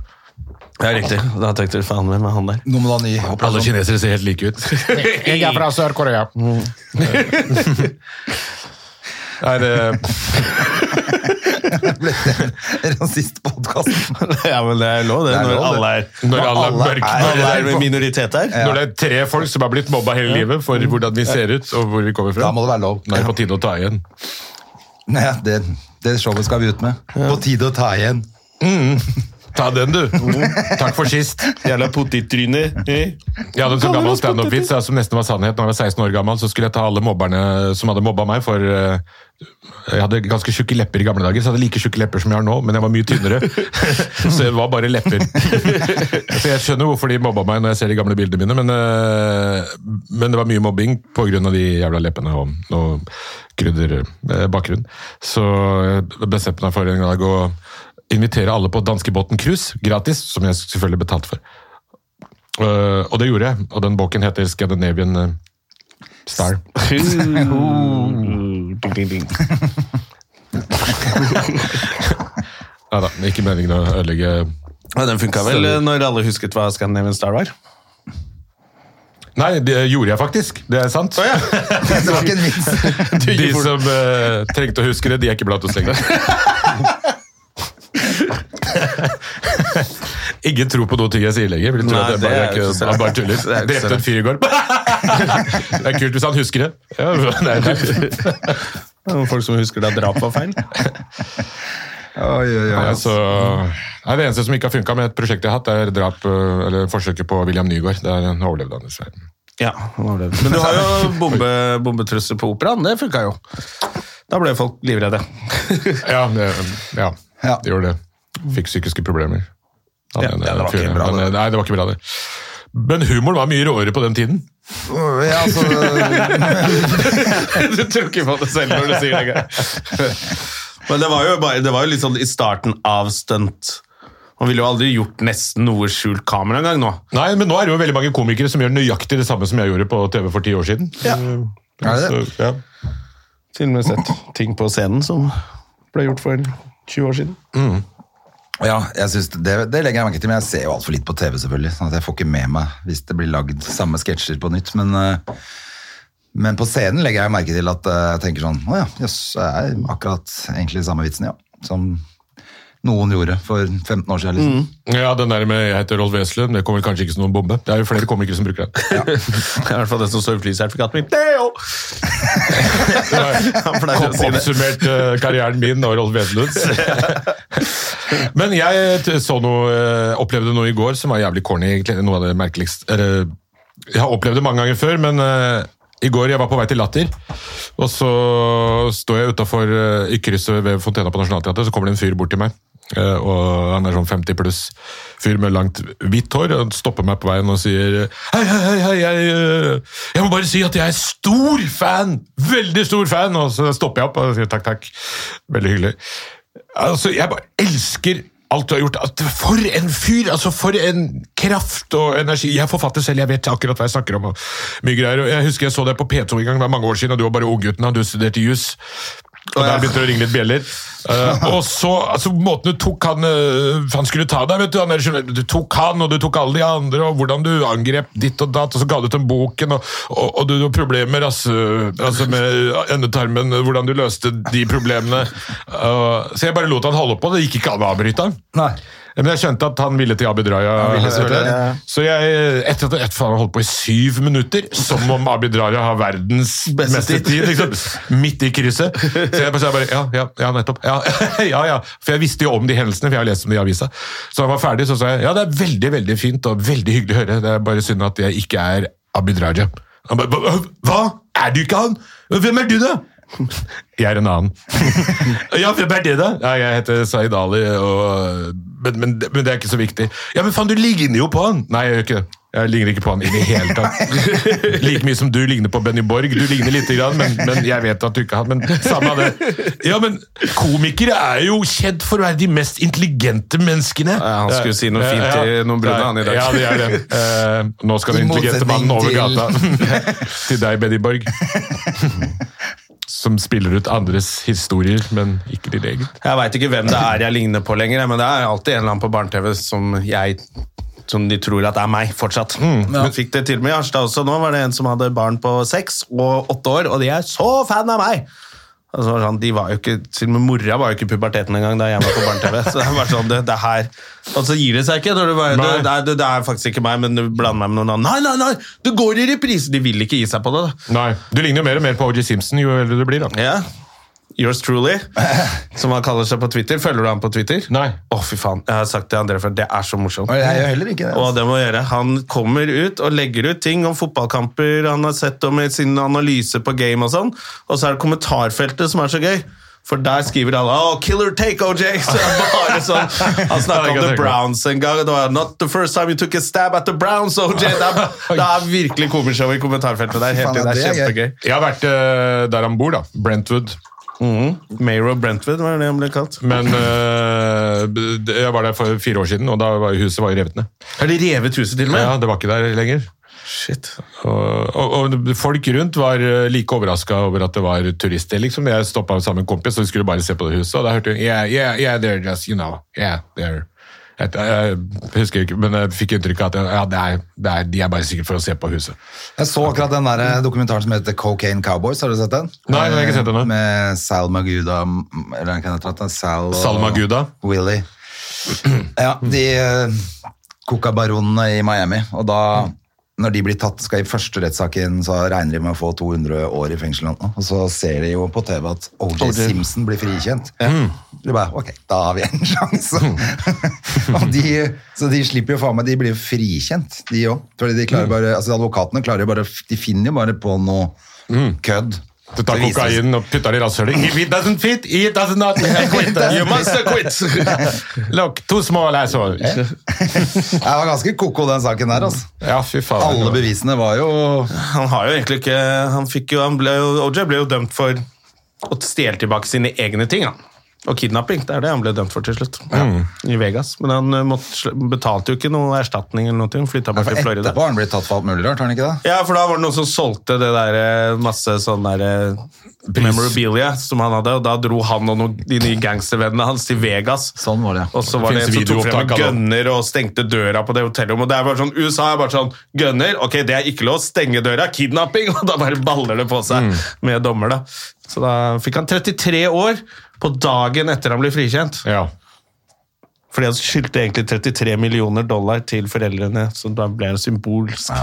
S2: Ja, riktig. Da tenkte du faen hvem er han der?
S1: Nå må du ha ny
S3: Alle
S1: operasjon.
S3: kinesere ser helt like ut. Jeg er fra Sør-Korea. Nei, det,
S1: Rasistpodkasten.
S2: ja, men det er lov, det.
S1: Det er
S2: når
S1: lov, det.
S2: alle er
S3: når alle er
S1: Alle er-
S3: mørke
S2: Alle er
S3: når,
S2: med minoritet her.
S3: når det er tre folk som har blitt mobba hele livet for hvordan vi ser ut og hvor vi kommer fra,
S1: Da må det være lov.
S3: Nå er det på tide å ta igjen.
S1: Nei, det, det showet skal vi ut med. På tide å ta igjen.
S3: Ta den, du. Takk for sist.
S2: Jævla potettryne. eh?
S3: Jeg hadde en sånn gammel standup-vits ja, som nesten var sannhet. Når jeg var 16 år gammel, så skulle jeg ta alle mobberne som hadde mobba meg, for eh, jeg hadde ganske tjukke lepper i gamle dager. Så jeg hadde like tjukke lepper som jeg har nå, men jeg var mye tynnere. så det var bare lepper. så jeg skjønner hvorfor de mobba meg når jeg ser de gamle bildene mine, men, eh, men det var mye mobbing pga. de jævla leppene og, og krydderbakgrunn. Så jeg bestemte meg for en dag å invitere alle på Danskebåten cruise, gratis, som jeg selvfølgelig betalte for. Øh, og det gjorde jeg, og den boken heter Scandinavian øh, Star. Nei da, ikke meningen å ødelegge
S2: Ja, den funka vel eh, når alle husket hva Scandinavian Star var?
S3: Nei, det gjorde jeg faktisk. Det er sant.
S1: Det var ikke en vits.
S3: De som eh, trengte å huske det, de er ikke blant oss lenger. Ingen tror på noe ting jeg sier lenger. for de tror
S2: Nei,
S3: at jeg
S2: det
S3: bare,
S2: er jo
S3: ikke,
S2: ikke så-
S3: han bare tuller.
S2: det er ikke så-
S3: Drepte en fyr i går. Det er kult hvis han husker det. Ja, det er kult.
S2: Folk som husker da drap var feil.
S1: Oi, oi, oi.
S3: Ja, så, altså, nei, det eneste som ikke har funka med et prosjekt jeg har hatt, er drap, eh, eller forsøket på William Nygaard. Der overlevde han dessverre.
S2: Ja, han overlevde. Men du har jo bombe, bombetrusler på operaen. Det funka jo. Da ble folk livredde.
S3: Ja, det, ja,
S1: Ja.
S3: det gjorde det. Fikk psykiske problemer. Han
S2: Ja,
S3: ene
S2: det var ikke
S3: fyren.
S2: bra,
S3: Men,
S2: det.
S3: Nei, det var ikke bra, det. Men humoren var mye råere på den tiden.
S1: Ja, altså,
S2: du tror ikke på det selv når du sier det. Geir. Men det var jo, bare, det var jo litt sånn i starten av stunt. Man ville jo aldri gjort nesten noe skjult kamera engang nå.
S3: Nei, men nå er det jo veldig mange komikere som gjør nøyaktig det samme som jeg gjorde på TV for ti år siden. Ja.
S1: Er det det?
S3: Så, ja.
S2: Til og med sett ting på scenen som ble gjort for 20 år siden.
S1: ja, jeg synes det, det legger jeg merke til, men jeg ser jo altfor litt på TV, selvfølgelig. Sånn at jeg får ikke med meg hvis det blir lagd samme sketsjer på nytt. Men, eh, men på scenen legger jeg merke til at eh, jeg tenker sånn Å ja, jøss, det er akkurat egentlig samme vitsen, ja. Som noen gjorde for 15 år siden. Liksom.
S3: ja, den der med 'jeg heter Rolf Weslund', det kommer kanskje ikke som noen bombe. Det er jo flere komikere som bruker det.
S2: Det er I hvert fall det som står i flysertifikatet mitt. Leo! Han pleier å si det.
S3: Oppsummert eh, karrieren min og Rolf Weslunds. men jeg t- så noe, eh, opplevde noe i går som var jævlig corny, egentlig. Noe av det merkeligste eller, Jeg har opplevd det mange ganger før, men eh, i går jeg var på vei til Latter, og så står jeg utafor i krysset ved fontena på Nationaltheatret, så kommer det en fyr bort til meg. eh, og Han er sånn 50 pluss fyr med langt hvitt hår. og Han stopper meg på veien og sier Hei, hei, hei, hei jeg, eh, jeg må bare si at jeg er stor fan! Veldig stor fan! Og så stopper jeg opp og sier takk, takk. Veldig hyggelig. Altså, jeg bare elsker alt du har gjort. At for en fyr! altså For en kraft og energi. Jeg er forfatter selv, jeg vet akkurat hva jeg snakker om. og mye greier. Og Jeg husker jeg så deg på P2 en gang, det var mange år siden, og du var bare unggutten, og du studerte jus. Og der begynte det å ringe litt bjeller. Eh, og så, altså Måten du tok han eh, Han skulle ta deg, vet du. Han er, journalist. du tok han, og du tok alle de andre, og hvordan du angrep ditt og datt, og så ga du ut den boken, og, og, og du har problemer med rasse... Altså med endetarmen, hvordan du løste de problemene. Eh, så jeg bare lot han holde på. Det gikk ikke an å avbryte han.
S1: Nei.
S3: Eh, Men jeg skjønte at han ville til Abid Raja.
S1: ville selvfølgelig, ja, ja.
S3: Så jeg, etter at etter faen, han holdt på i syv minutter, som om Abid Raja har verdens
S2: Beste
S3: beste
S2: tid.
S3: tid, liksom, midt i krysset. Så jeg bare, sa bare ja, ja, ja, nettopp. Ja, ja, ja. For jeg visste jo om de hendelsene, for jeg har lest om det i avisa. Så han var ferdig, så sa jeg ja, det er veldig, veldig fint og veldig hyggelig å høre. Det er bare synd at jeg ikke er Abid Raja. Han bare hva? hva? Er du ikke han? Hvem er du, da? Jeg er en annen. ja, hvem er det, da? Ja, jeg heter Zaid Ali, og, men, men, men det er ikke så viktig. Ja, men faen, du ligner jo på han! Nei, jeg gjør ikke det. Jeg ligner ikke på han i det hele tatt. like mye som du ligner på Benny Borg. Du ligner lite grann, men, men jeg vet at du ikke har Men samme av det. Ja, men komikere er jo kjent for å være de mest intelligente menneskene.
S2: Ja, han skulle si noe fint til noen brune, han, i dag.
S3: Ja, det er det. Eh, nå skal
S1: I
S3: den intelligente mannen over
S1: motsetning
S3: gata til deg, Benny Borg som spiller ut andres historier, men ikke din egen.
S2: Jeg veit ikke hvem det er jeg ligner på lenger, men det er alltid en eller annen på barne-TV som jeg som de tror at er meg, fortsatt. Men fikk det til og med i Harstad også. Nå var det en som hadde barn på seks og åtte år, og de er så fan av meg! Altså, det var sånn, de var jo ikke, til og med mora var jo ikke i puberteten engang da jeg var på barne-TV. Så det var sånn, det, det her, Og så gir det seg ikke. Når du bare, det,
S3: Nei.
S2: det, er- det, det er faktisk ikke meg, men du blander meg med noen andre. Nei, nei, nei! Du går i reprise! De vil ikke gi seg på det. da.
S3: Nei, Du ligner jo mer og mer på OG Simpson jo eldre du blir. da.
S2: Ja. Yours truly, som han kaller seg på Twitter. Følger du ham på Twitter?
S3: Nei.
S2: Å, fy faen. Jeg har sagt til André før, det er så morsomt.
S1: Og jeg gjør heller ikke det.
S2: Og det må jeg gjøre. Han kommer ut og legger ut ting om fotballkamper han har sett om i sin analyse på game og sånn. Og så er det kommentarfeltet som er så gøy. For der skriver alle oh, 'Killer take, OJ'! Så det er bare sånn. Han snakka om The Browns en gang. og Det var 'Not the first time you took a stab at the Browns, OJ'. Det er, det er virkelig komishow i kommentarfeltet der. Helt,
S1: Faen,
S2: det er
S1: det er gøy.
S2: kjempegøy.
S3: Jeg har vært eh, der han bor, da. Brentwood.
S2: Mayor of Brentwood, var det det han ble kalt?
S3: Men eh, b- jeg var der for fire år siden, og da var huset var jo revet ned.
S2: Har de revet huset til og med?
S3: Ja, Det var ikke der lenger.
S2: Shit.
S3: Og, og, og folk rundt var eh, like overraska over at det var turister. liksom. Jeg stoppa sammen med en kompis, og vi skulle bare se på det huset, og da hørte jeg yeah, yeah, yeah, they're just, you know, yeah, they're Jeg, jeg, jeg husker ikke, men jeg fikk inntrykk av at ja, det er, det er, de er bare sikkert for å se på huset.
S1: Jeg så akkurat den der eh, dokumentaren som heter Cocaine Cowboys. Har du sett den?
S3: Nei, den har jeg ikke sett ennå.
S1: Med Sal Maguda Eller hva heter den? Sal og
S3: Salma Guda.
S1: Willy. Ja, de eh, kokabaronene i Miami. Og da, når de blir tatt, skal i første rettssaken, så regner de med å få 200 år i fengsel. eller noe. Og så ser de jo på TV at OJ Simpson blir frikjent. Mm. De bare Ok, da har vi en sjanse. og de, så de slipper jo faen meg De blir jo frikjent, de òg. Fordi de klarer bare Altså, advokatene klarer jo bare De finner jo bare på noe kødd.
S3: Du tar
S1: Det viser seg-
S3: kokainen og putter det i rasshølet. If it doesn't fit, it does not quit. You must quit. Look, too small asshole.
S1: Det var ganske koko, den saken der, altså.
S3: Ja, fy faen.
S1: Alle bevisene var jo
S2: Han har jo egentlig ikke Han fikk jo, han ble jo OJ ble jo dømt for å stjele tilbake sine egne ting, han. Og kidnapping. Det er det han ble dømt for til slutt.
S1: Mm.
S2: I Vegas. Men han eh, måtte, sl- betalte jo ikke noe erstatning eller noe. Han flytta bare til
S1: Etterpå
S2: Florida.
S1: har han blitt tatt for alt mulig rart, har han ikke det?
S2: Ja, for da var det noen som solgte det der eh, masse sånn der eh, memorabilia som han hadde, og da dro han og noen, de nye gangstervennene hans til Vegas.
S1: Sånn var det.
S2: Og så var det
S3: Det
S2: en som
S3: finnes
S2: tok frem en
S3: videoopptak av
S2: gønner og stengte døra på det hotellrommet. Og det er bare sånn, USA er bare sånn Gønner, ok, det er ikke lov. Stenge døra, kidnapping! Og da bare baller det på seg
S3: Mm.
S2: med dommer, da. Så da fikk han 33 år på dagen etter han ble frikjent.
S3: Ja.
S2: Fordi han skyldte egentlig 33 millioner dollar til foreldrene, så da ble det symbolsk.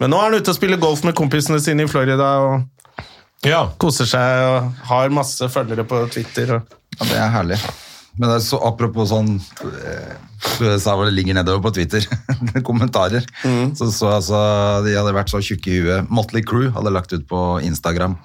S2: Men nå er han ute og spiller golf med kompisene sine i Florida og
S3: ja.
S2: koser seg og har masse følgere på Twitter. Og
S1: Ja, det er herlig. Men det er så, apropos sånn eh, USA hvor det ligger nedover på Twitter, kommentarer, så så jeg altså De hadde vært så tjukke i huet. Motley Crew hadde lagt ut på Instagram.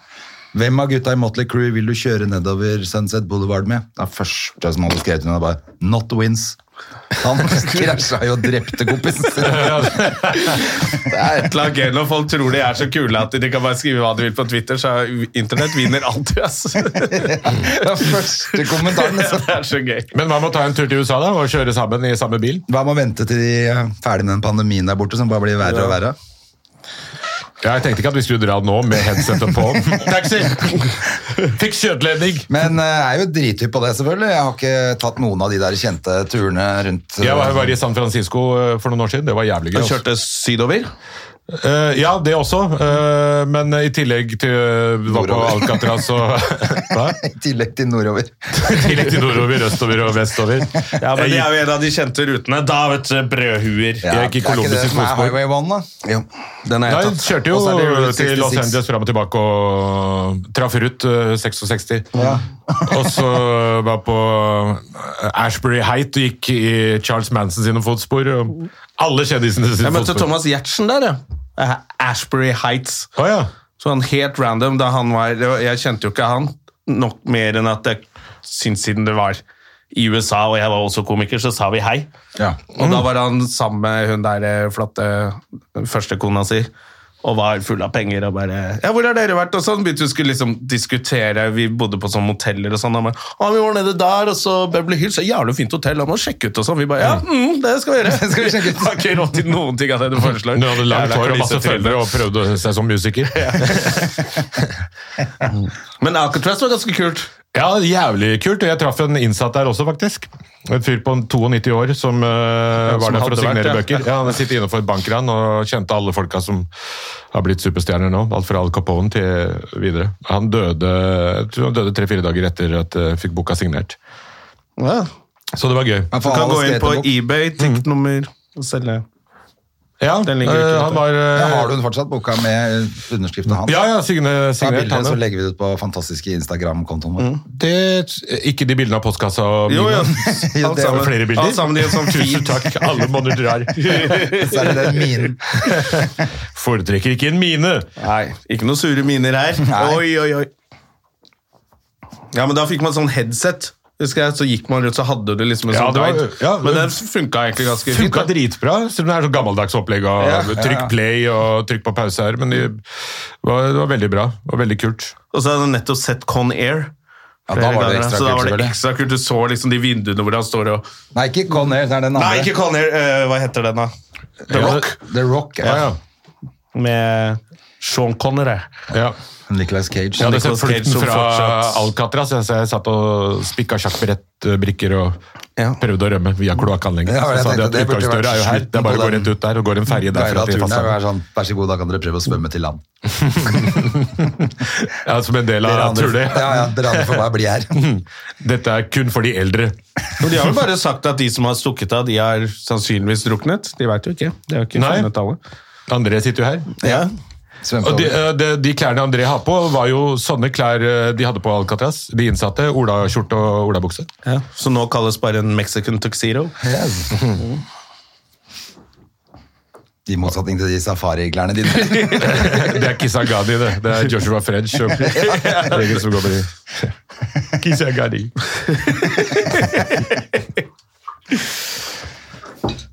S1: Hvem av gutta i Motley Crew vil du kjøre nedover Sunset Boulevard med? Det er første som hadde skrevet under, bare 'Not wins'. Han krasja jo og drepte kompisen sin.
S2: Det er et eller annet gøy når folk tror de er så kule at de kan bare skrive hva de vil på Twitter, så internett vinner alltid, ass.
S1: Det er første kommentaren.
S2: Ja,
S1: Liksom.
S2: det er så gøy.
S3: Men hva med å ta en tur til USA da, og kjøre sammen i samme bil?
S1: Hva med å vente til de er ferdig med den pandemien der borte, som bare blir verre og verre?
S3: Ja, jeg tenkte ikke at vi skulle dra nå med headsetet på. Taxi! Fikk kjøtledning!
S1: Men eh, jeg er jo drithypp på det, selvfølgelig. Jeg har ikke tatt noen av de der kjente turene rundt
S3: Jeg var, var i San Francisco eh, for noen år siden. Det var jævlig gøy.
S2: Han
S3: altså.
S2: kjørte sydover.
S3: Eh, ja, det også. eh, men i tillegg til eh, vi var på
S1: Nordover.
S3: Alcatraz og Hva?
S1: eh, I tillegg til nordover.
S3: I tillegg til nordover, østover og vestover.
S2: Ja, men det er
S3: jeg, gikk,
S2: jo en av de kjente rutene. Da, vet du, brødhuer.
S1: Ja,
S3: jeg gikk i Columbus i
S1: Er ikke det som er
S3: fotspor.
S1: Highway 1, da? Jo.
S2: Den er
S3: Nei,
S2: jeg tatt.
S3: kjørte jo
S1: Og så er det Route
S3: til Los
S1: 66.
S3: Angeles fram og tilbake og traff Ruth eh, 66. og så var på eh, Ashbury Height og gikk i Charles Manson sine fotspor. Og alle kjendisene sine
S2: Jeg møtte
S3: fotspor.
S2: Thomas Giertsen der, ja. Ashbury Eh, Heights.
S3: Å, ja.
S2: Sånn helt random, da han var det var- Jeg kjente jo ikke han nok mer enn at jeg syntes siden det var i USA, og jeg var også komiker, så sa vi hei.
S1: Ja.
S2: Og da var han sammen med hun der eh, flotte førstekona si. Og var full av penger og bare Ja, hvor har dere vært? Og sånn begynte vi skulle liksom diskutere. Vi bodde på sånne moteller og sånn. Og han bare, «Å, vi var nede der, og så Beverly Hills. Ja, Jævlig fint hotell, han må sjekke ut og sånn. Vi bare Ja, mm, det skal vi gjøre.
S1: Det skal vi sjekke ut.
S2: Har ikke råd til noen ting av det du foreslår.
S3: Hun hadde langt
S2: Jævla
S3: hår og masse
S2: klisete tryne.
S3: følgere og prøvde seg som musiker.
S2: Men Alcatraz var ganske kult.
S3: Ja, jævlig kult. Og jeg traff en innsatt der også, faktisk. En fyr på 92 år som eh, var
S2: som
S3: der for å
S2: hadde
S3: signere
S2: vært, ja.
S3: bøker. Ja, Han sitter innenfor et bankran og kjente alle folka som har blitt superstjerner nå. Alt fra Al Capone til videre. Han døde jeg tror han døde tre-fire dager etter at jeg fikk boka signert.
S2: Ja.
S3: Så det var gøy.
S1: Men
S2: Du
S1: faen,
S2: kan
S1: han
S2: gå inn
S1: skrev
S2: på
S1: en bok.
S2: eBay, tiktnummer og selge.
S3: Ja,
S2: Den ligger
S3: eh,
S2: ute.
S3: han var eh,
S1: Ja, har du den fortsatt, boka med underskriften hans?
S3: Ja, ja, signe,
S1: Ta
S3: signert.
S1: bilder,
S3: Han,
S1: så
S3: ja.
S1: legger vi det ut på fantastiske Instagram-kontoen vår.
S3: Mm. det, ikke de bildene av postkassa og
S2: Jo, ja.
S3: mine.
S1: Jo,
S2: Alt
S1: det er
S2: sammen.
S3: vel flere bilder.
S2: Alt sammen i en sånn
S3: Tusen
S2: feed.
S3: takk, alle monner drar.
S1: Så er det den min.
S3: Foretrekker ikke en mine.
S2: Nei, ikke noe sure miner her.
S1: Nei.
S2: Oi, oi, oi. Ja, men da fikk man sånn headset. Husker jeg, Så gikk man rundt, så hadde du liksom en
S3: Ja,
S2: sånn
S3: det var-
S2: guide.
S3: ja,
S2: men
S3: men-
S2: den funka egentlig ganske fint.
S3: Funka
S2: da.
S3: dritbra, selv om det er sånn gammeldags opplegg av
S2: Ja, ja,
S3: trykk play og trykk på pause her, men det var, det var veldig bra og veldig kult.
S2: Og så hadde jeg nettopp sett Con Air.
S1: Ja, da var det
S2: flere ganger, så
S1: ekstra
S2: da
S1: kult,
S2: var det
S1: selvfølgelig.
S2: ekstra kult. Du så liksom de vinduene hvor han står og
S1: Nei, ikke Con Air, det er den
S2: Nei,
S1: andre.
S2: ikke Con Air! eh, hva heter den, da? The
S3: Ja,
S2: Rock.
S1: The Rock.
S3: Ja,
S1: Ja.
S3: ja.
S2: med Sean Connery.
S3: Ja.
S1: Nicolas Cage.
S3: Jeg hadde sett
S2: Nicolas Cage
S3: flukten
S2: som
S3: fra
S2: fortsatt-
S3: Alcatraz, jeg- så jeg satt og spikka sjakkbrettbrikker og
S2: Ja.
S3: prøvde å rømme via kloakkanlegget.
S1: Ja, jeg
S3: så sa de
S1: tenkte
S3: at
S1: det burde
S3: utgangsdøra er jo
S1: vært slutten
S3: her, det er bare å
S1: på
S3: gå
S1: den
S3: rett ut der og går en ferje derfra til
S1: turen er
S3: fastlandet.
S1: sånn, Vær så god, da kan dere prøve å svømme til land.
S3: Ja, som en del
S1: Dere
S3: av
S1: andre,
S3: turné.
S1: ja, ja, dere andre får bare bli her.
S3: Dette er kun for de eldre.
S2: Men de har jo bare sagt at de som har stukket av, de har sannsynligvis druknet. De veit jo ikke. De har jo ikke
S3: Nei.
S2: funnet alle.
S3: André sitter jo her.
S2: Ja.
S1: Svømte
S3: Og de,
S1: over.
S3: eh, de, de klærne André har på, var jo sånne klær eh, de hadde på Alcatraz. De innsatte. Olaskjorte og olabukse.
S2: Ja. Så nå kalles bare en Mexican tuxedo.
S1: Yes. I motsetning til de safariklærne dine.
S3: Det er Kisangani, det. Det er Joshua French. Og, Egen som går med de. Kisangani.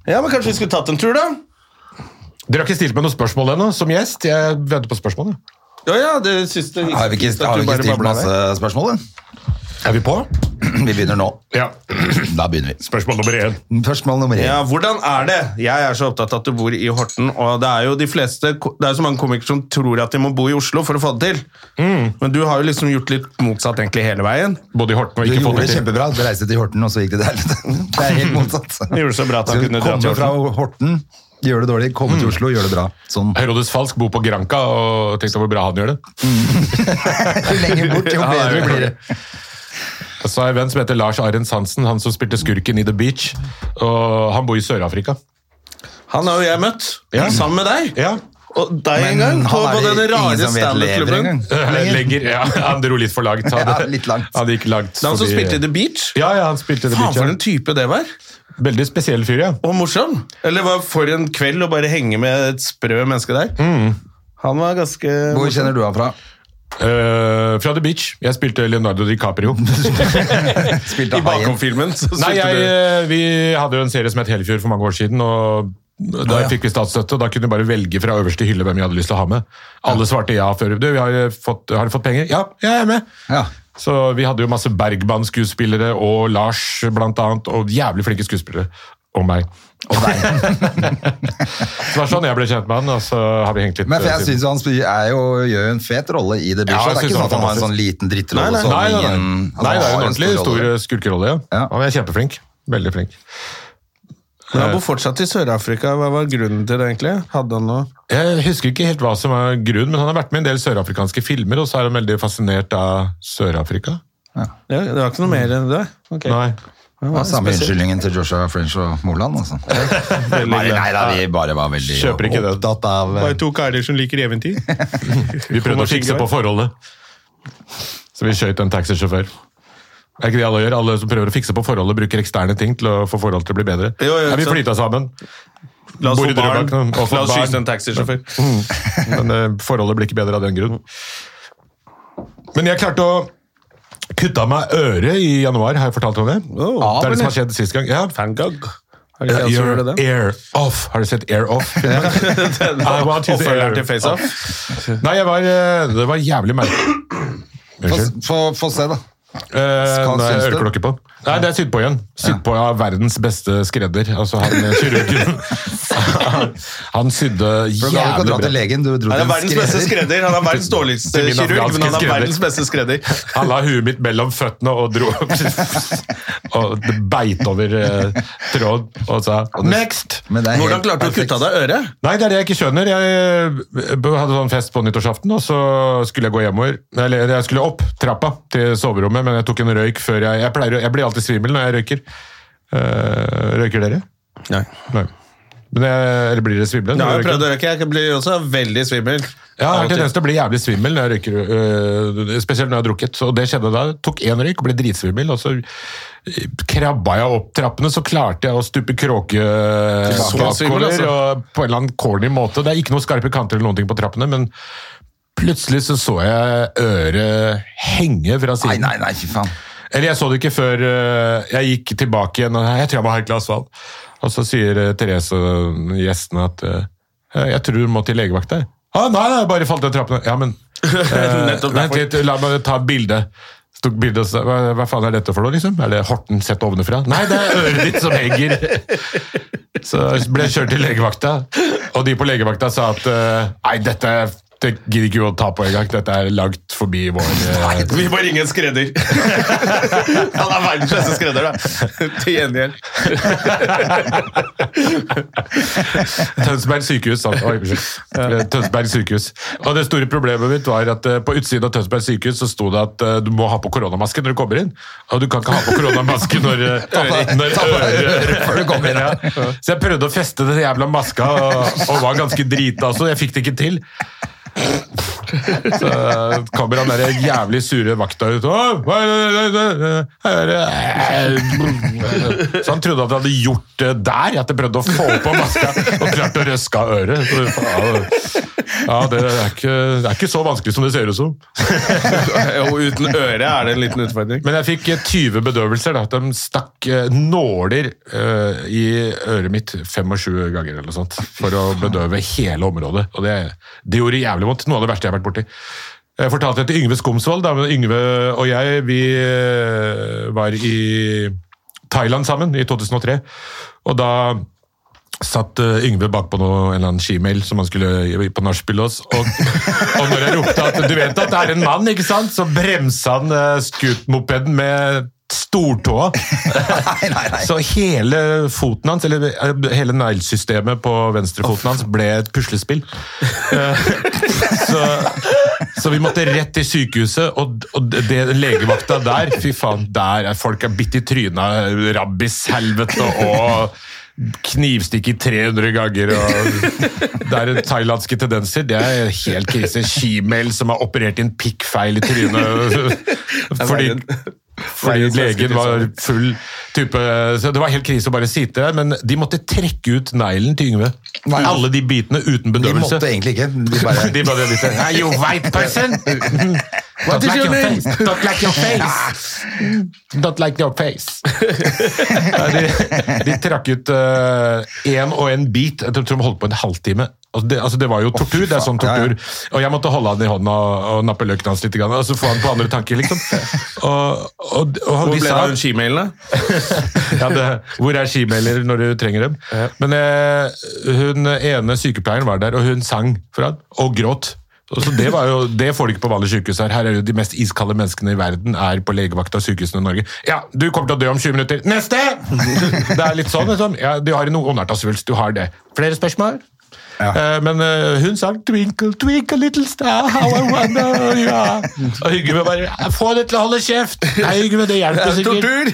S2: Ja, men kanskje vi skulle tatt en tur, da?
S3: Dere har ikke stilt meg noe spørsmål ennå, som gjest. Jeg venter på spørsmål. jeg.
S2: Ja, ja, det siste
S1: Har vi ikke, har vi ikke stilt masse spørsmål? da?
S3: Er vi på?
S1: Vi begynner nå.
S3: Ja.
S1: Da begynner vi.
S3: Spørsmål nummer én.
S1: Spørsmål nummer én.
S2: Ja, hvordan er det? Jeg er så opptatt av at du bor i Horten, og det er jo de fleste, det er jo så mange komikere som tror at de må bo i Oslo for å få det til. Men du har jo liksom gjort litt motsatt egentlig hele veien.
S3: Både i Horten
S1: Du
S3: og ikke
S1: gjorde det
S3: Folletti.
S1: kjempebra. Du reiste til Horten, og så gikk det der. Det er helt motsatt.
S2: Du gjorde det så bra at han
S1: Så
S2: kunne dra
S1: kom
S2: til Mm.
S1: jo fra Horten, gjør det dårlig. Komme til Oslo, gjør det bra. Sånn.
S3: Herodes Falsk bor på Granca, og tenk deg hvor bra han gjør det.
S1: Jo lenger bort, jo
S3: Ja,
S1: bedre
S3: ja.
S1: blir det.
S3: Og Så har jeg en venn som heter Lars Arens Hansen, han som spilte skurken i The Beach. Og han bor i Sør-Afrika.
S2: Han har jo jeg møtt, sammen med deg.
S3: Ja.
S2: Og deg
S1: Men
S2: en gang, på,
S1: han er
S2: på
S1: det
S2: denne
S1: ingen
S2: rare
S1: som vet lever
S2: standup-klubben.
S1: engang.
S3: Lenger, ja, Han dro litt for langt. Han,
S1: Ja, litt langt.
S3: han gikk langt.
S2: Det er han som
S3: forbi-
S2: spilte i The Beach.
S3: Ja, ja, han spilte i The
S2: Faen,
S3: Beach.
S2: for en
S3: Ja.
S2: type det var.
S3: Veldig spesiell fyr, ja.
S2: Og morsom. Eller hva for en kveld å bare henge med et sprø menneske der. Han var ganske
S1: Mm. Hvor kjenner du han fra?
S3: Eh, fra The Beach. Jeg spilte Leonardo DiCaprio.
S1: Spilte
S2: I
S1: han haien?
S2: bakom-filmen. så
S3: Nei,
S2: spilte
S3: jeg,
S2: du-
S3: eh, Vi hadde jo en serie som het Helfjord for mange år siden. og da
S2: Ah,
S1: Å, ja.
S3: fikk vi statsstøtte, og da kunne vi bare velge fra øverste hylle hvem vi hadde lyst til å ha med. Alle svarte ja før. Du, vi har, eh, fått, har du fått penger? Ja, jeg er med!
S1: Ja.
S3: Så vi hadde jo masse Bergman-skuespillere og Lars blant annet, og jævlig flinke skuespillere. Og meg.
S1: Og deg.
S3: Så det var sånn jeg ble kjent med han, og så har vi hengt litt
S1: Men for jeg
S3: eh, siden.
S1: synes han sp- er jo, gjør jo en fet rolle i The Beach.
S3: Ja, jeg
S1: det er
S3: synes
S1: ikke sånn
S3: han
S1: at han har en
S3: fantastisk.
S1: sånn liten drittrolle.
S3: Nei,
S1: som
S3: nei, nei, nei.
S1: ingen- altså,
S3: nei,
S1: han
S3: det er jo
S1: har
S3: en ordentlig stor eh,
S1: rolle.
S3: skurkerolle, ja.
S1: Ja.
S3: Han er kjempeflink. Veldig flink.
S2: Men han bor fortsatt i Sør-Afrika. Hva var grunnen til det, egentlig? Hadde han noe
S3: Jeg husker ikke helt hva som er grunnen, men han har vært med i en del sørafrikanske filmer, og så er han veldig fascinert av Sør-Afrika.
S2: ja, Det var ikke noe mer enn det? Ok.
S3: Nei.
S1: Ja, samme unnskyldningen til Joshua French og Moland, altså. Nei, nei da, vi bare var veldig
S3: Kjøper ikke det.
S1: opptatt av eh,
S2: Bare to karer som liker eventyr.
S3: Vi prøvde å fikse på forholdet, så vi skjøt en taxisjåfør. Det er ikke det alle gjør. Alle som prøver å fikse på forholdet, bruker eksterne ting til å få forholdet til å bli bedre.
S2: Jo, jo,
S3: Nei, vi
S2: sant.
S3: flytta sammen,
S2: La oss
S3: Bor
S2: få
S3: i
S2: barn.
S3: Drøbak, og få
S2: La oss
S3: barn.
S2: skyte en taxisjåfør.
S3: men eh, forholdet blir ikke bedre av den grunn. Men jeg klarte å kutte av meg øret i januar, har jeg fortalt om det?
S2: Oh.
S3: det er det som har skjedd sist gang. Ja,
S2: Van Gogh. Er det ikke han som gjorde
S3: Your
S2: det?
S3: air off. Har du sett air off? I want you to
S2: Oppfølgeren
S3: air.
S2: til Face Off.
S3: Nei, jeg var, eh, det var jævlig merkelig.
S1: få,
S3: Unnskyld.
S1: få, få se, da.
S3: Eh,
S1: Skal
S3: nei,
S1: synes du?
S3: øreklokke på. Nei, det er sydd på igjen. Sydd på av verdens beste skredder. Altså han eh, kirurgen. Han- han sydde
S1: For Du gadd ikke å
S3: jævlig
S1: dra til
S3: bra.
S1: legen, du dro
S2: Han er
S1: til
S2: verdens beste skredder. Han er verdens dårligste
S3: Til min
S2: kirurg, men han
S3: afghanske
S2: er
S3: skredder.
S2: verdens beste skredder.
S3: Han la huet mitt mellom føttene og dro Og det beit over eh, tråden og sa next!
S1: Men det er helt
S2: Hvordan klarte du å
S1: perfekt.
S2: kutte av deg øret?
S3: Nei, det er det jeg ikke skjønner. Jeg b- hadde sånn fest på nyttårsaften, og så skulle jeg gå hjemover. Eller jeg skulle opp trappa til soverommet, men jeg tok en røyk før jeg Jeg, pleier, å- jeg blir alltid svimmel når jeg røyker. Eh, røyker dere?
S2: Nei.
S3: Nei. Men jeg, eller blir dere svimle? når
S2: Jeg har
S3: dere
S2: jo
S3: røyker?
S2: prøvd å røyke. Jeg blir også veldig svimmel.
S3: Ja, jeg har
S2: Alltid.
S3: tendens til å bli jævlig svimmel når jeg røyker. øh, spesielt når jeg har drukket. Og det skjedde da. Jeg tok én røyk og ble dritsvimmel, og så øh, krabba jeg opp trappene. Så klarte jeg å stupe kråke øh,
S2: Så
S3: bakover,
S2: svimmel, altså.
S3: og på en eller annen corny måte. Det er ikke noen skarpe kanter eller noen ting på trappene, men plutselig så, så jeg øret henge fra
S1: Nei,
S3: siden.
S1: nei, nei, fy faen.
S3: Eller jeg så det ikke før øh, jeg gikk tilbake igjen. og Jeg tror jeg må ha et glass vann. Og så sier øh, Therese øh, gjestene at øh, jeg tror du må til legevakta. jeg. Ah, nei, nei, jeg bare falt ned trappene. Ja, men eh,
S2: Nettopp
S3: Vent
S2: derfor.
S3: litt, la meg ta et bilde. Så tok bildet og sa, hva, hva faen er dette for noe, liksom? Er det Horten sett ovenfra? Nei, det er øret ditt som henger. Så ble jeg kjørt til legevakta, Og de på legevakta sa at eh, nei, dette det gidder ikke vi å ta på engang. Dette er langt forbi vår eh,
S2: Vi må ringe en skredder! Han er verdens beste skredder, da. Til gjengjeld.
S3: Tønsberg sykehus, sant? Oi, unnskyld. Eh, Tønsberg sykehus. Og det store problemet mitt var at eh, på utsiden av Tønsberg sykehus så sto det at eh, du må ha på koronamaske når du kommer inn. Og du kan ikke ha på koronamaske når, eh, når øret
S1: Før du kommer inn.
S3: Ja. Så jeg prøvde å feste den jævla maska, og, og var ganske drita også. Jeg fikk det ikke til. Så eh, kommer han der jævlig sure vakta ut «Åh, hva er det- det- det- det?» Så han trodde at jeg hadde gjort det der, at jeg prøvde å få på maska og klarte å røske av øret. Så, faen, Ja, det er, ikke, det er ikke så vanskelig som det ser ut som.
S2: Og uten øre er det en liten utfordring.
S3: Men jeg fikk eh, 20 bedøvelser. Da. De stakk eh, nåler eh, i øret mitt 25 ganger eller noe sånt, for å bedøve hele området. Og det, det gjorde jævlig vondt. Noe av det verste jeg har vært borti. Jeg fortalte det til Yngve Skomsvold. Da, men Yngve og jeg vi eh, var i Thailand sammen i 2003. Og da satt eh, Yngve bakpå noe, en eller annen skimail som han skulle gi- på nachspiel hos. Og, og når jeg ropte at du vet at det er en mann, ikke sant? så bremsa han uh, scootmopeden med stortåa.
S1: Nei, nei, nei.
S3: Så hele foten hans, eller eh, hele neglesystemet på venstrefoten hans, ble et puslespill. Eh, Så, så vi måtte rett til sykehuset, og, og det legevakta der Fy faen, der er folk er bitt i tryna, rabbishelvete og knivstikk i 300 ganger. Og det er thailandske tendenser. Det er helt krise. Shemale som har operert inn pikkfeil i trynet. Fordi fordi
S2: Verdens verste
S3: legen var full type Så det var helt krise å bare sitte der, men de måtte trekke ut neglen til Yngve.
S1: Nei.
S3: Alle de bitene uten
S1: De måtte
S3: bedøvelse.
S1: egentlig ikke. De bare
S3: De bare litt Are you white person? Don't
S2: is
S3: like
S2: your
S3: your
S2: name?
S3: face. Don't like your face. Don't like your face. Nei, de, de trakk ut én og en bit. Jeg tror tror de holdt på en halvtime. Altså det, altså det var jo tortur. det er sånn
S1: Ja, ja.
S3: tortur. Og jeg måtte holde han i hånda og, og nappe løken hans litt. grann, Og så få han på andre tanker, liksom. Og, og, og
S2: Hvor
S3: vi
S2: ble det
S3: sa-
S2: av skimailen, da?
S3: ja, det, hvor er skimailer når du trenger dem? Men eh, hun ene sykepleieren var der, og hun sang for han, og gråt. Og Så det, var jo, det får du ikke på vanlige sykehus her. Her er jo de mest iskalde menneskene i verden er på legevakta og sykehusene i Norge. Ja, du kommer til å dø om 20 minutter. Neste! Det er litt sånn, liksom. Ja, du har en ondartasvulst, du har det. Flere spørsmål? Eh, Men eh, hun sang 'Twinkle, twinkle little star, how I wonder you are'. Og Yngve bare «Ja, 'Få det til å holde kjeft'. Nei, Yngve, det hjelper sikkert.
S2: Tortur!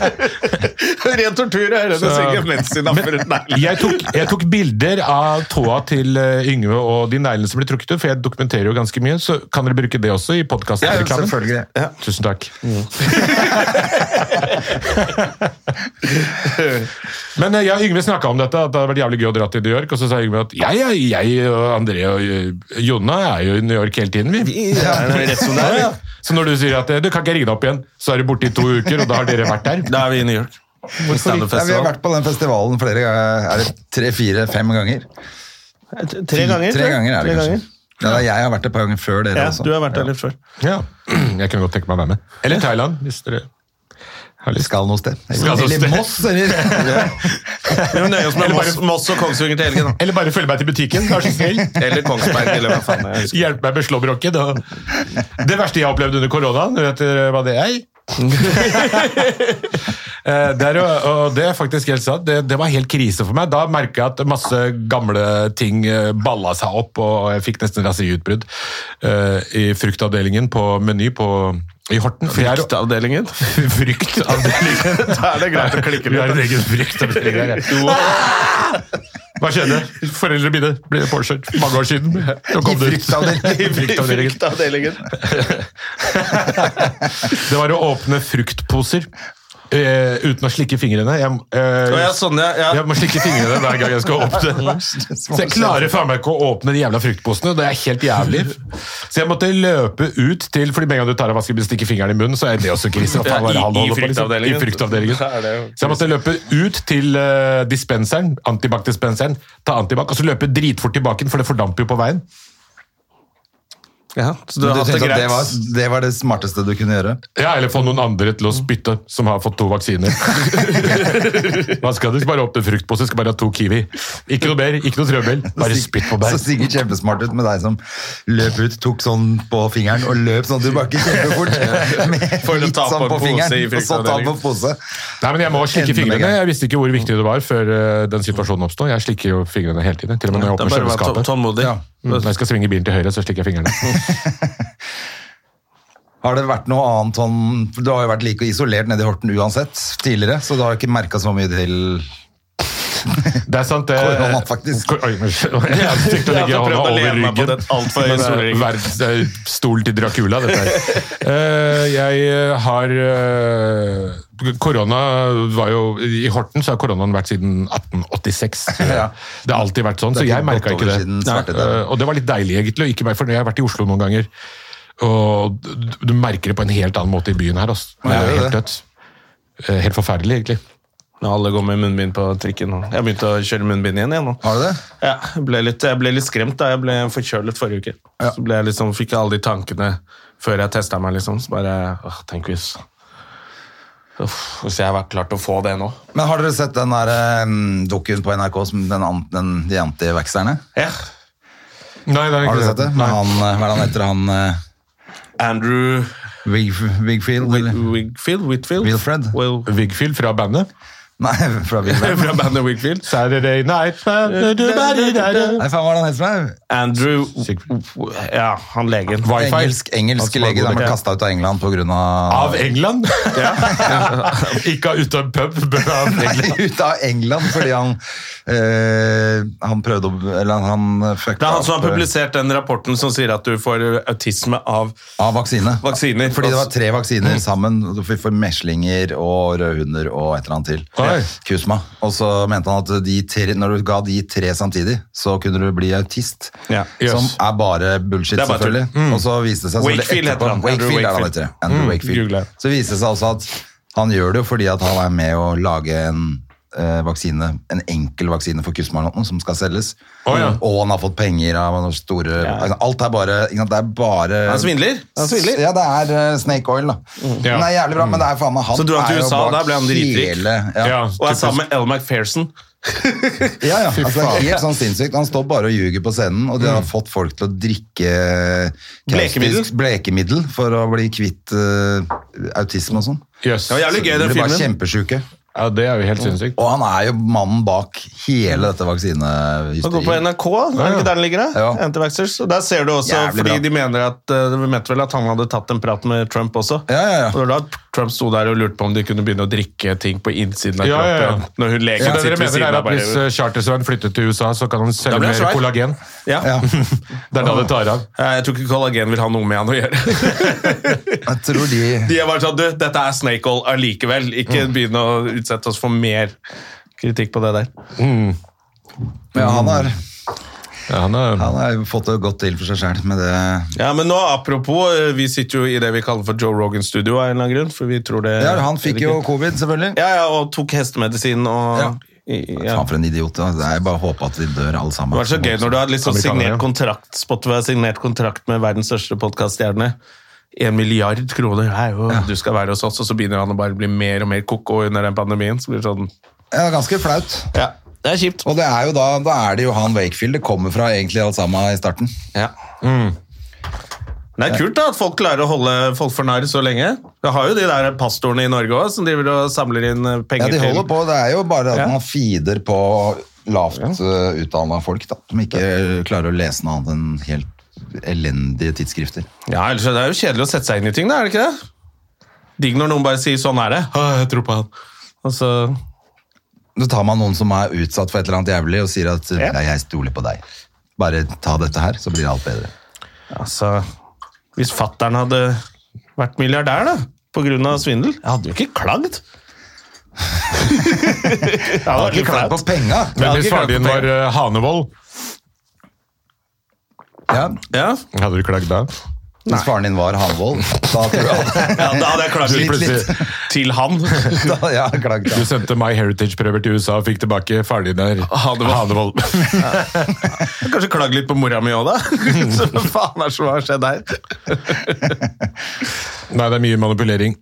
S2: Ren tortur er det du synger mens de napper ut neglen.
S3: jeg tok, jeg tok bilder av tåa til eh, Yngve og de neglene som ble trukket ut, for jeg dokumenterer jo ganske mye. Så kan dere bruke det også i
S1: Ja,
S3: podkastreklamen?
S1: selvfølgelig.
S3: Tusen takk. Men eh, jeg og Yngve snakka om dette, at det hadde vært jævlig gøy å dra til New York. Og så sa Yngve at jeg, jeg, jeg og André og eh, Jonna er jo i New York hele tiden, vi.
S2: Ja, det er rett som det er.
S3: Ja, ja. Så når du sier at eh, du kan ikke ringe deg opp igjen, så er du borte i to uker, og da har dere vært der.
S2: Da er vi i New York.
S1: Nei, vi har
S2: Standup-festival.
S1: vært på den festivalen flere ganger. Er det tre-fire-fem ganger?
S2: Tre ganger.
S1: Tre ganger er det kanskje. Ja, da, jeg har vært et par ganger før dere
S2: Ja, altså.
S1: også.
S2: du har vært der litt før.
S3: Ja. Jeg kunne godt tenke meg å være med. Eller Thailand, hvis dere har
S1: Vi
S3: lyst.
S1: skal noe sted.
S3: Skal
S2: altså,
S1: Eller
S3: noe sted.
S1: Moss, eller?
S2: Vi må nøye oss med Moss, Moss og Kongsvinger til helgen. da.
S3: Eller bare følge meg til butikken, vær så snill.
S2: Eller Kongsberg, eller hva faen. jeg husker.
S3: Hjelp meg med slåbroken. Og... Det verste jeg har opplevd under koronaen, vet dere hva det er? Eh, det, er jo, og det er faktisk helt sant. Det, det var helt krise for meg. Da merka jeg at masse gamle ting eh, balla seg opp, og jeg fikk nesten raseriutbrudd eh, i fruktavdelingen på Meny på, i Horten. For jeg er-
S2: Fruktavdelingen.
S3: Fruktavdelingen.
S2: Da er det greit å klikke
S3: Vi har en
S2: litt.
S3: egen fruktavdeling her. ja. Hva skjedde? Foreldrene mine ble påkjørt for mange år siden. Nå kom det ut. I fruktavdelingen.
S2: Fruktavdelingen.
S3: Det var å åpne fruktposer eh, uten å slikke fingrene. Jeg, eh,
S2: Å, ja, sånn, ja, ja.
S3: jeg må slikke fingrene hver gang jeg skal åpne. Så jeg klarer faen meg ikke å åpne de jævla fruktposene. Det er helt jævlig. Så jeg måtte løpe ut til Fordi med en gang du tar av vasken, stikker fingeren i munnen, så er det også krise. Hva faen var det han
S2: Ja, i- i
S3: holder på, liksom?
S2: fruktavdelingen.
S3: I fruktavdelingen.
S2: Da er det jo
S3: Så jeg måtte løpe ut til eh, dispenseren, antibac-dispenseren, ta antibac, og så løpe dritfort tilbake, for det fordamper jo på veien.
S2: Ja, så du har
S1: Men Du
S2: hatt det
S1: tenkte at det var,
S2: greit.
S1: det var det smarteste du kunne gjøre?
S3: Ja, eller få noen andre til å spytte, som har fått to vaksiner. Man skal du bare åpne fruktpose, skal bare ha to Kiwi. Ikke noe mer, ikke noe trøbbel. Bare spytt på
S1: Så
S3: bær.
S1: sikkert kjempesmart ut med deg som løp ut, tok sånn på fingeren og løp sånn du bakker kjempefort. Med
S2: For å
S1: litt
S2: ta på
S1: sånn
S2: en pose i
S1: og så ta på
S2: fruktavdelingen.
S1: pose.
S3: Nei, men Jeg må slikke
S1: Enda mer
S3: fingrene.
S1: greit.
S3: Jeg visste ikke hvor viktig det var før eh, den situasjonen oppstod. Jeg slikker jo fingrene hele tiden. Til og med når jeg
S2: Det er
S3: åpner
S2: bare å være tå-
S3: kjøleskapet.
S2: tålmodig.
S1: Ja.
S3: Mm, Når jeg skal svinge bilen til høyre, så slikker jeg fingrene.
S1: Har det vært noe annet sånn for Du har jo vært like isolert nede i Horten uansett tidligere, så du har ikke merka så mye til
S3: Det er sant, det.
S1: Korona, faktisk.
S3: Kor- Oi, unnskyld. Jeg har stygt å
S2: Jeg
S3: legge
S2: har prøvd
S3: hånda
S2: å lene
S3: over
S2: meg på
S3: ryggen.
S2: den alt for høye
S3: Men eh, det er
S2: solringen.
S3: verdens- det er Stol til Dracula, dette her. Eh, jeg har eh, Korona var jo I Horten så har koronaen vært siden 1886.
S1: Ja.
S3: Det har alltid vært sånn,
S1: Det er
S3: så
S1: ikke
S3: jeg merka
S1: gått
S3: ikke
S1: over
S3: det.
S1: siden svartete.
S3: Eh, og det var litt deilig, egentlig, å ikke merke for jeg har vært i Oslo noen ganger. Og du- du merker det på en helt annen måte i byen her. Altså. Det
S1: Ja,
S3: er
S1: det er
S3: helt dødt. Eh, Helt forferdelig, egentlig.
S2: Når alle går med munnbind på trikken. og- Jeg begynte å kjøre munnbind igjen. igjen nå.
S1: Har du det?
S2: Ja, jeg ble, litt, jeg ble litt skremt da jeg ble forkjølet forrige uke. Så ble jeg liksom, fikk jeg alle de tankene før jeg testa meg, liksom. Så bare åh, Tenk hvis Uff, Hvis jeg hadde klart å få det nå.
S1: Men har dere sett den der eh, dokuen på NRK som den, an- den, de antivaxerne?
S2: Ja.
S3: Nei, det er
S1: Har du sett det? Med
S3: Nei.
S1: han, eh, hva er det han heter, han eh,
S2: Andrew
S1: Wig- Wigfield? eller?
S2: Wigfield? Whitfield?
S1: Wilfred.
S2: Will,
S3: Vigfyll fra bandet.
S1: Nei, fra Wigfield.
S2: fra bandet Wigfield.
S3: Saturday night Wifi.
S1: Nei, faen, hva er det han heter for noe?
S2: Andrew
S3: Sigfrid.
S2: Ja, han legen.
S1: Engelsk, engelsk
S3: Han som
S1: lege
S3: var
S1: som ble
S3: god-
S1: kasta ut av England pga.
S3: Av England? Ikke ut av en pub, men av England.
S1: Nei, ut av England fordi han eh, Han prøvde å Eller han eh, fucka
S2: Det er han som har
S1: opp, eh,
S2: publisert den rapporten som sier at du får autisme av
S1: Av vaksine.
S2: Vaksiner. Mm.
S1: Fordi det var tre vaksiner sammen. og Du får meslinger og rødhunder og et eller annet til.
S3: Oi.
S1: Kusma. Og så mente han at de tre, når du ga de tre samtidig, så kunne du bli autist.
S2: Ja.
S1: Som
S3: Yes.
S1: er bare bullshit,
S2: Det er bare tull. Mm.
S1: selvfølgelig. Og så viste det seg selvfølgelig
S2: Wakefield heter han.
S1: etterpå-
S2: Andrew
S1: Wakefield er han
S2: Wakefield. Mm,
S1: heter. Andrew Wakefield.
S2: Google det.
S1: Så viste det seg også at han gjør det jo fordi at han er med å lage en eh, vaksine, En enkel vaksine for kusma eller noe som skal selges.
S3: Å, ja.
S1: Og han har fått penger av noen store altså, Alt er bare, ikke sant, det er bare
S2: Han svindler. Han svindler.
S1: ja, det er eh, Snake Oil, da.
S3: Mm. Ja.
S1: Den er jævlig bra, men det er faen meg han
S2: Så dro han til
S1: er jo
S2: USA,
S1: bak
S2: der ble han dritrik.
S1: Hele, ja.
S3: Ja.
S1: Ja.
S2: Og er sammen med Elle McPherson.
S1: Ja, Altså, helt sånn sinnssykt. Han står bare og ljuger på scenen, og de
S3: Mm.
S1: har fått folk til å drikke
S2: Blekemiddel.
S1: kaustisk blekemiddel for å bli kvitt eh, autisme og sånn.
S3: Yes.
S2: Det var jævlig gøy,
S1: De
S2: den
S1: blir bare
S2: filmen.
S1: kjempesjuke.
S3: Ja, det er jo helt sinnssykt.
S1: Og han er jo mannen bak hele dette
S2: Den går på
S1: vaksinehysteriet.
S2: NRK, er det ikke der den ligger? da?
S1: Ja.
S2: Antivaxxers. Og der ser du også,
S1: Jævlig
S2: fordi
S1: bra.
S2: de mener at eh, Vi mente vel at han hadde tatt en prat med Trump også.
S1: Ja, ja,
S2: Og
S1: ja.
S2: det var da Trump sto der og lurte på om de kunne begynne å drikke ting på innsiden av
S3: Ja, ja, ja.
S2: kroppen. Når hun legen
S3: Så det
S2: sitter
S3: dere
S2: ved
S3: mener
S2: siden av
S3: er at hvis
S2: bare
S3: eh, Charter-Svein flytter til USA, så kan han
S2: Da
S3: selge
S2: blir han
S3: mer
S2: svær.
S3: kollagen?
S2: ja.
S1: ja.
S3: Det er da det tar av.
S2: Eh, Jeg tror ikke kollagen vil ha noe med han å gjøre.
S1: Jeg tror de
S2: de er bare sånn Du, dette er snake oil allikevel. Ikke begynn å utsette oss for mer kritikk på det der.
S1: ja, han, har,
S3: Ja, han er,
S1: han har jo fått det godt til for seg sjøl med det.
S2: Ja, men nå, apropos, eh, vi sitter jo i det vi kaller for Joe Rogan Studio av en eller annen grunn, for vi tror det...
S1: Ja, han fikk jo covid, selvfølgelig.
S2: Ja, ja, og tok hestemedisin og...
S1: Ja.
S2: I, ja.
S1: Faen for en idiot. da. Det er bare å håpe at vi dør alle sammen.
S2: Det var så gøy når du hadde liksom
S3: Amerikanere.
S2: signert kontrakt, Spotify har signert kontrakt med verdens største podcaststjerne. En milliard kroner, hei, å, du skal være hos oss, og så begynner han å bare bli mer og mer koko under den pandemien, så blir det sånn...
S1: Ja, ganske flaut.
S2: Ja, det er kjipt.
S1: Og det er jo da, da er det jo han Wakefield det kommer fra egentlig alt sammen i starten.
S2: Ja.
S1: Mm.
S2: Det er kult da, at folk klarer å holde folk for narr så lenge. Vi har jo de der pastorene i Norge også, som driver og samler inn eh,
S1: Ja,
S2: penger
S1: de
S2: til...
S1: holder på. Det er jo bare at
S2: Ja.
S1: man feeder på lavt uh, utdanna folk da, som ikke klarer å lese noe annet enn helt elendige tidsskrifter.
S2: Ja, ellers er det jo kjedelig å sette seg inn i ting, da, er det ikke det? Digg når noen bare sier 'sånn er det'. «Å, Jeg tror på han. Og så,
S1: Så tar man noen som er utsatt for et eller annet jævlig og sier at
S2: Ja.
S1: «Nei, jeg stoler på deg. Bare ta dette her, så blir alt bedre.
S2: altså Hvis fattern hadde vært milliardær, da, på grunn av svindel, jeg hadde jo ikke klagd. jeg hadde
S1: Ikke
S2: ikke
S1: klag på
S2: klagd.
S1: penga!
S3: Men hvis faren din var eh, Hanevold,
S1: Ja,
S2: Ja,
S3: hadde du klagd da?
S1: Hvis faren din var Hanvold, da tror jeg
S2: Ja, da hadde jeg klart
S3: Du
S2: litt,
S3: plutselig-
S2: litt. Til han.
S1: da, ja, klagd,
S3: Du
S1: ja.
S3: sendte My Heritage-prøver til USA og fikk tilbake faren din der. Hanevold.
S2: Kanskje klagd litt på mora mi òg, da. Så hva faen er det som har skjedd her?
S3: Nei, det er mye manipulering.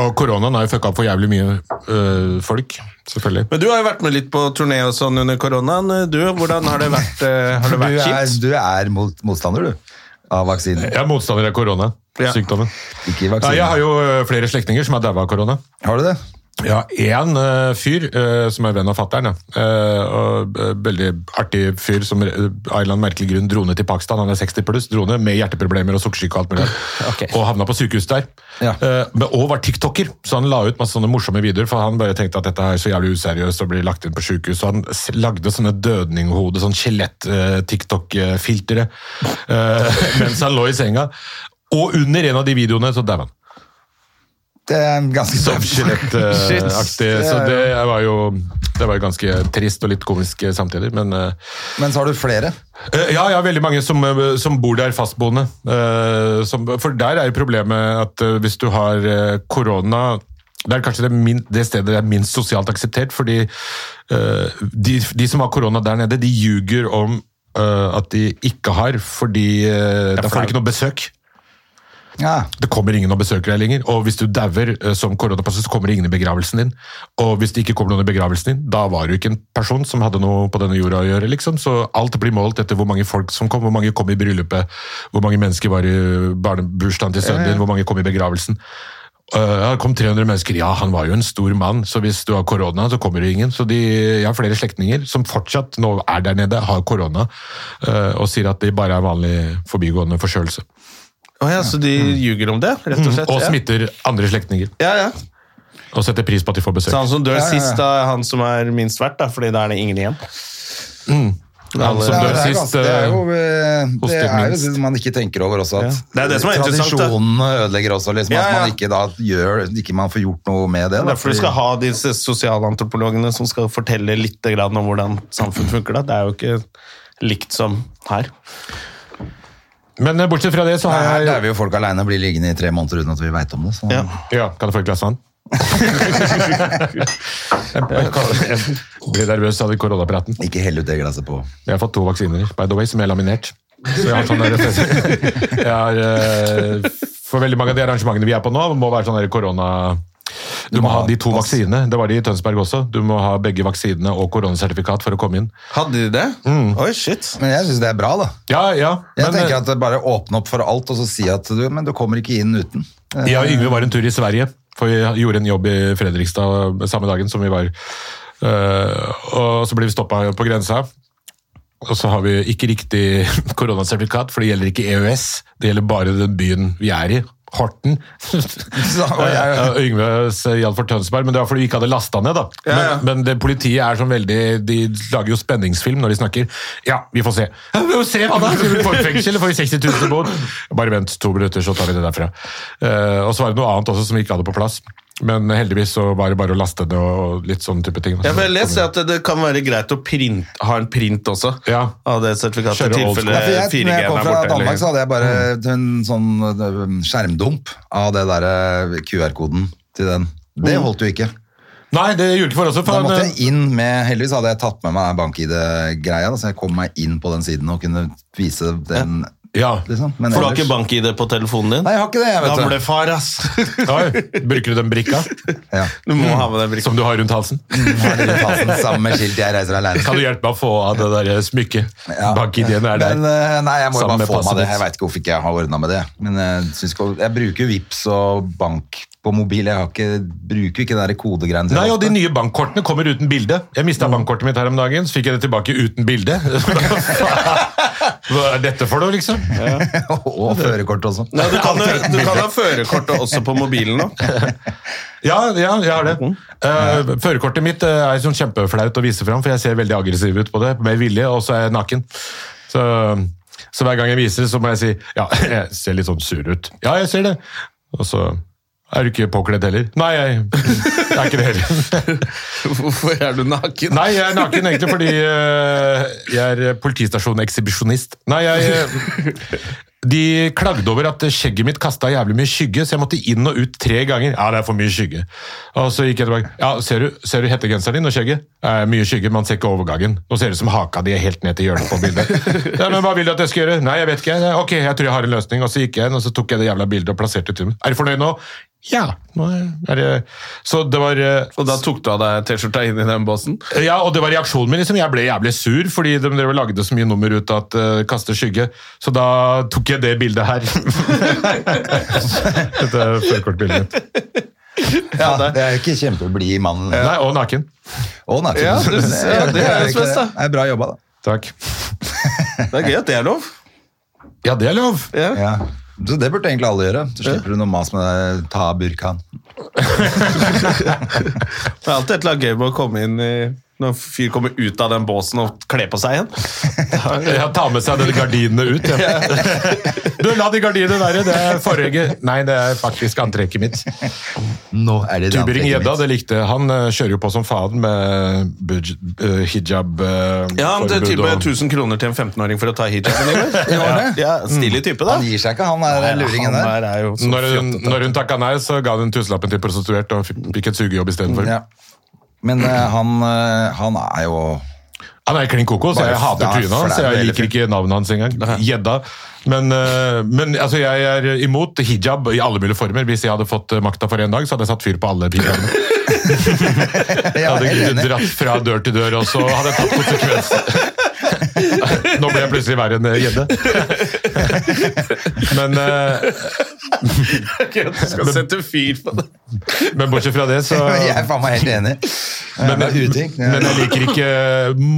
S3: Og koronaen har jo fucka opp for jævlig mye øh, folk, selvfølgelig.
S2: Men du har jo vært med litt på turné og sånn under koronaen. Du, hvordan har det vært? eh, Har det
S1: Du
S2: vært
S1: er,
S2: kjipt?
S1: du er mot, motstander, du, av vaksinen.
S3: Jeg er motstander av korona.
S2: Ja.
S3: Sykdommen.
S1: Ikke
S3: Nei,
S1: vaksinen.
S3: jeg har jo øh, flere slektninger som er daua av korona.
S1: Har du det?
S3: Ja, én øh, fyr øh, som er venn av fatter'n. Ja. Eh, og, øh, veldig artig fyr som øh, av en eller annen merkelig grunn dro ned til Pakistan. Han er 60 pluss, dro ned med hjerteproblemer og sukkersyke og alt mulig. Og havna på sykehus der.
S1: Ja.
S3: Eh, men, og var tiktoker, så han la ut masse sånne morsomme videoer. For han bare tenkte at dette er så jævlig useriøst og blir lagt inn på sykehus. Så han s- lagde sånne dødninghode, sånn skjelett-tiktok-filtre eh, mens han lå i senga. Og under en av de videoene så daua han.
S1: Det er en ganske
S3: Sånn
S1: Shit.
S3: skjelettaktig. Så det var jo det var jo ganske trist og litt komisk eh, samtidig, men eh,
S1: Men så har du flere.
S3: eh, Ja, jeg har veldig mange som, eh, som bor der fastboende. eh, som, for der er jo problemet at eh, hvis du har eh, korona det er kanskje det, min, det stedet det er minst sosialt akseptert, fordi eh, de, de som har korona der nede, de ljuger om eh, at de ikke har, fordi eh, da får de ikke noe besøk.
S1: Ja.
S3: Det kommer ingen og besøker deg lenger, og hvis du dauer eh, som koronapasset, så kommer det ingen i begravelsen din. Og hvis det ikke kommer noen i begravelsen din, da var du ikke en person som hadde noe på denne jorda å gjøre, liksom. Så alt blir målt etter hvor mange folk som kom, hvor mange kom i bryllupet, hvor mange mennesker var i barnebursdagen til sønnen din, hvor mange kom i begravelsen. Eh, Ja, det kom 300 mennesker. Ja, han var jo en stor mann, så hvis du har korona, så kommer det ingen. Så de, jeg har flere slektninger som fortsatt nå er der nede, har korona, eh, og sier at de bare er vanlig forbigående forkjølelse.
S2: Å ja, så de
S1: Mm.
S2: ljuger om det, rett og slett?
S3: Mm, Og
S2: ja.
S3: smitter andre slektninger.
S2: Ja, ja.
S3: Og setter pris på at de får besøk.
S2: Sånn, Så han som dør
S1: Ja, ja, ja.
S2: sist, da er han som er minst verdt, da, fordi da er det ingen igjen.
S3: Han som
S1: Ja,
S3: dør
S1: det, er
S3: sist,
S1: ganske, det er jo
S3: eh,
S1: eh,
S3: hos
S1: det
S3: det
S1: er jo
S3: minst.
S1: det man ikke tenker over også, at
S2: Det er det som er interessant, da.
S1: tradisjonene ødelegger også. Liksom,
S2: Ja, ja.
S1: At man ikke da gjør, ikke man får gjort noe med det.
S2: Det
S1: Da,
S2: er derfor du skal ha disse sosialantropologene som skal fortelle litt grann om hvordan samfunn funker. Da. Det er jo ikke likt som her.
S3: Men eh, bortsett fra det, så
S1: Nei,
S3: har
S1: her
S3: jeg
S1: dauer jo folk alene og blir liggende i tre måneder uten at vi veit om det. Så.
S2: Ja.
S3: Ja, kan jeg få et glass vann? jeg jeg blir nervøs av den koronapraten.
S1: Ikke hell ut det glasset på
S3: Jeg har fått to vaksiner, by the way, som er laminert. Så jeg har sånn der, jeg har, eh, For veldig mange av de arrangementene vi er på nå, må være sånn der korona... Du må ha de to
S1: pass.
S3: vaksinene. Det var de i Tønsberg også. Du må ha begge vaksinene og koronasertifikat for å komme inn.
S2: Hadde de det? Oi, shit.
S1: Mm. Men jeg syns det er bra, da.
S3: Ja, ja.
S1: Jeg
S3: men,
S1: tenker
S3: eh,
S1: at det Bare åpne opp for alt og så si at du, men du kommer ikke inn uten. Eh,
S3: Jeg og Yngve var en tur i Sverige, for vi gjorde en jobb i Fredrikstad samme dagen som vi var. Eh, og så ble vi stoppa på grensa. Og så har vi ikke riktig koronasertifikat, for det gjelder ikke EØS. Det gjelder bare den byen vi er i, Horten.
S1: Så, og jeg,
S3: Eh, og Yngves gjaldt for Tønsberg, men det var fordi vi ikke hadde lasta ned. da.
S2: Ja, ja.
S3: Men, men det, politiet er sånn veldig De lager jo spenningsfilm når de snakker. Ja, vi får se. Ja, Vi får se hva da! Skal vi få et fengsel, får vi 60 000 i bot? Bare vent to minutter, så tar vi det derfra. Eh, og så var det noe annet også som vi ikke hadde på plass. Men heldigvis så var det bare å laste ned og litt sånn type ting. da.
S2: Jeg vil lese at det kan være greit å print, ha en print også
S3: Ja.
S2: av det sertifikatet.
S3: Kjøre
S2: i
S3: old
S2: tilfelle
S1: Ja,
S3: school.
S1: for jeg,
S2: 4G
S1: når jeg kom
S2: Eh, er borte,
S1: fra
S2: eller- Mm.
S1: Danmark, så hadde jeg bare en sånn øh, skjermdump av det der øh, QR-koden til den.
S2: Mm.
S1: Det holdt jo ikke.
S3: Nei, det gjorde ikke for oss.
S1: Da
S3: For
S1: måtte
S3: han, eh,
S1: jeg inn med, Heldigvis hadde jeg tatt med meg bank-ID-greia, da, så jeg kom meg inn på den siden og kunne vise den.
S3: eh, ja.
S1: Liksom. Men
S2: For du har
S1: ellers-
S2: ikke bank-ID på telefonen din?
S1: Nei, jeg har ikke det, jeg, vet du.
S2: Gamlefar, ass!
S3: Oi, bruker du den brikka
S1: Ja.
S2: Du må ha med deg brikke.
S3: som du har rundt halsen?
S1: Har dere tatt den sammen med skilt 'Jeg reiser alene'?
S3: Kan du hjelpe meg å få av det der smykket?
S1: Ja.
S3: Bankideen er der.
S1: Men, eh, nei, jeg må jo
S3: Sammen
S1: bare
S3: med
S1: få meg
S3: passet
S1: det. Jeg
S3: ditt.
S1: veit ikke hvorfor ikke jeg har ordna med det. Men jeg, synes, ikke- jeg bruker jo Vipps og bank på mobil. Jeg har ikke, bruker jo ikke de kodegreiene. til
S3: Nei, og de
S1: ofte.
S3: nye bankkortene kommer uten bilde. Jeg mista
S1: Mm.
S3: bankkortet mitt her om dagen, så fikk jeg det tilbake uten bilde. Hva er dette for noe, liksom?
S1: og førerkort også.
S2: Nei, du, kan, jo- du kan ha førerkortet også på mobilen nå.
S3: Ja, ja, jeg har det. Eh, Førerkortet mitt eh, er sånn kjempeflaut å vise fram, for jeg ser veldig aggressiv ut på det, med vilje, og så er jeg naken. Så, så hver gang jeg viser det, så må jeg si ja, jeg ser litt sånn sur ut. Ja, jeg ser det. Og så er du ikke påkledd heller? Nei, jeg, jeg er ikke det heller.
S2: Hvorfor er du naken?
S3: Nei, jeg er naken egentlig fordi eh, jeg er politistasjoneksibisjonist. Nei, jeg, eh, De klagde over at skjegget mitt kasta jævlig mye skygge, så jeg måtte inn og ut tre ganger. Ja, det er for mye skygge. Og så gikk jeg tilbake. Ja, ser du, ser du hettegenseren din og skjegget? Eh, mye skygge, man ser ikke overgangen. Nå ser det ut som haka di er helt ned til hjørnet på bildet. ja, men hva vil du at jeg skal gjøre? Nei, jeg vet ikke. Ja, Ok, jeg tror jeg har en løsning. Og så gikk jeg inn, og så tok jeg det jævla bildet og plasserte det til meg. Er du fornøyd nå? Ja. Nå er det Så det var eh,
S2: Og da tok du av deg T-skjorta inn i den båsen?
S3: ja, og det var reaksjonen min. liksom. Jeg ble jævlig sur, fordi de drev og lagde så mye nummer ut av at eh, kaste skygge. Så da tok jeg det bildet her. Dette er førerkortbildet mitt.
S1: Ja, det er jo ikke kjempeblid mann.
S3: Nei, og naken.
S1: Og naken.
S2: Ja, det- ja, det er jo
S1: ikke
S2: spes, da.
S1: Det er bra jobba, da.
S3: Takk.
S2: Det er gøy at det er lov.
S3: Ja, det er lov!
S2: Ja.
S1: Ja. Så det burde egentlig alle gjøre. Så slipper du noe mas med deg, ta av burkaen.
S2: Det er alltid et eller annet gøy med å komme inn i når en fyr kommer ut av den båsen og kler på seg igjen.
S3: Ja, Ta med seg de gardinene ut. Ja. Du, La de gardinene være. Det er forhenget. Nei, det er faktisk antrekket mitt.
S1: Nå er det det antrekket
S3: Tubring-Gjedda,
S1: mitt.
S3: det likte jeg. Han eh, kjører jo på som faen med buj- eh, hijab eh,
S2: Ja, han
S3: forbud
S2: tilbød
S3: og-
S2: 1000 kroner til en 15-åring for å ta hijaben. eller? Ja, ja, Stilig type, da.
S1: Han gir seg ikke, han er den luringen
S2: Han
S1: der.
S2: der er jo så
S3: Når hun,
S2: fjottete.
S3: når hun takka nei, så ga hun tusenlappen til prostituert og fikk fikk et sugejobb istedenfor.
S1: Ja. Men eh, han, eh, han er jo
S3: Han er klin koko, så
S1: Bare
S3: jeg hater
S1: flau-
S3: trynet hans.
S1: flau-
S3: Jeg liker
S1: eller-
S3: ikke navnet hans engang. Gjedda. Men, eh, men altså, jeg er imot hijab i alle mulige former. Hvis jeg hadde fått eh, makta for en dag, så hadde jeg satt fyr på alle hijabene. Jeg
S1: Ja,
S3: hadde
S1: helt
S3: ikke
S1: enig.
S3: dratt fra dør til dør, og så hadde jeg tatt konsekvensen. Nå ble jeg plutselig verre enn eh, gjedde. Men, eh,
S2: Du skal sette fyr på det.
S3: men bortsett fra det, så
S1: Jeg er faen meg helt enig. Eh,
S3: Men,
S1: Men, uting. Ja.
S3: men jeg liker ikke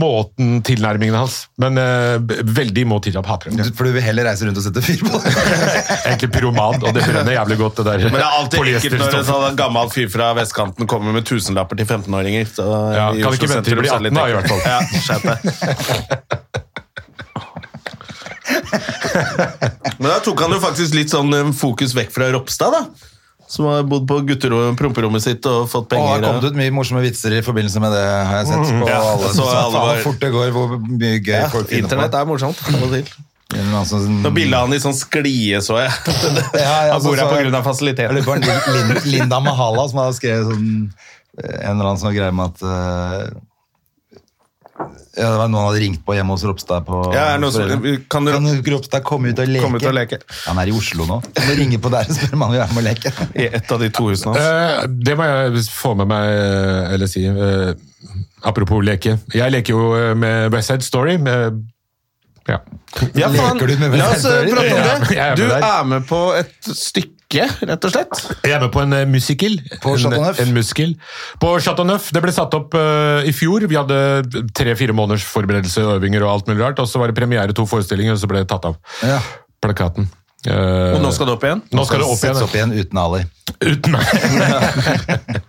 S3: måten tilnærmingen hans. Men eh, b- veldig imot hijab. Hater det.
S1: Du- eh, For du vil heller reise rundt og sette fyr på det?
S3: Jeg er Egentlig pyroman, og det brenner jævlig godt, det der
S2: Men det er alltid ekkelt når en
S3: polyesterstoffet.
S2: sånn gammel fyr fra vestkanten kommer med tusenlapper til 15-åringer. så eh,
S3: Ja,
S2: i
S3: kan
S2: Oslo
S3: ikke vente til
S2: sentrum
S3: de blir
S2: så er det litt
S3: 18 da, i hvert fall.
S2: ekkelt. Ja, skjerp deg. Men da tok han jo faktisk litt sånn eh, fokus vekk fra Ropstad, da. Som har bodd på gutterom- promperommet sitt og fått
S1: Og har
S2: penger.
S1: kommet ut mye morsomme vitser i forbindelse med det, har jeg sett. på
S2: Mm. ja.
S1: alle.
S2: Så
S1: Så
S2: alle var-
S1: faen fort det går, hvor mye gøy
S2: ja,
S1: folk finner på.
S2: internett er morsomt. av og til.
S1: En eller annen sånn-
S2: Nå bildet han i sånn sklie, så jeg.
S1: Ja, ja,
S2: Han
S1: så-
S3: altså,
S2: bor her
S1: så-
S2: pga.
S1: Jeg lurer
S2: fasiliteten.
S1: på om det var Lin- Linda Mahala som hadde skrevet sånn, eh, en eller annen sånn greie med at eh, ja, det var Noen hadde ringt på hjemme hos Ropstad. på
S2: Ja, er det noen som-
S1: foreldre.
S2: kan
S1: kan,
S2: du-
S1: Ropstad komme ut og leke?
S2: Komme ut og leke.
S1: Han er i Oslo nå. Kan du ringe på der og spørre om han vil være med og leke?
S2: I et av de to husene hans.
S3: Eh, det må jeg få med meg, eh, eller si. eh, apropos leke. Jeg leker jo eh, med West Side Story. Med, ja.
S2: Ja, faen.
S1: Leker du med
S2: La oss eh,
S1: Velferdsdører?
S2: prate
S3: Ja,
S2: om
S3: jeg er
S2: det.
S3: med
S2: Du
S3: der.
S2: er med på et stykke, rett og slett.
S3: Jeg er med på en eh, musical.
S1: På Chateau Neuf?
S3: En, en musical. På Chateau Neuf. Det ble satt opp eh, i fjor. Vi hadde tre-fire måneders forberedelse og øvinger og alt mulig rart. Og så var det premiere to forestillinger, og så ble det tatt av.
S1: Ja.
S3: Plakaten. Eh,
S2: Og nå skal det opp igjen?
S3: nå skal det opp igjen.
S1: Settes opp igjen uten Ali.
S3: Uten meg.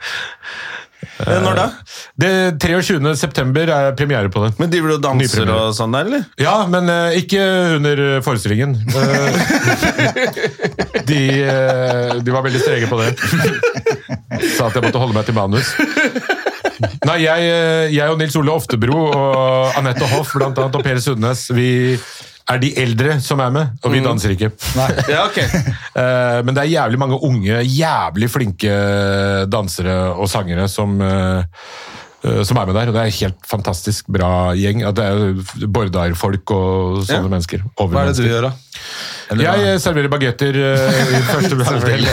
S2: Eh, Når da?
S3: Det 23. september er premiere på det.
S2: Men driver du og danser
S3: Nypremiere.
S2: og sånn der, eller?
S3: Ja, men eh, ikke under forestillingen. Eh, de, eh, de var veldig strenge på det. Sa at jeg måtte holde meg til manus. Nei, jeg, eh, jeg og Nils Ole Oftebro og Anette Hoff blant annet, og Per Sundnes, vi er de eldre som er med,
S2: Mm.
S3: og vi danser ikke.
S2: Ja, ok.
S3: Eh, Men det er jævlig mange unge, jævlig flinke dansere og sangere som eh, eh, som er med der, og Det er en helt fantastisk bra gjeng. At det er jo Bordar-folk og sånne
S2: Ja.
S3: mennesker.
S1: Hva er det du gjør, da?
S3: Jeg eh, serverer bagetter eh, i første halvdel.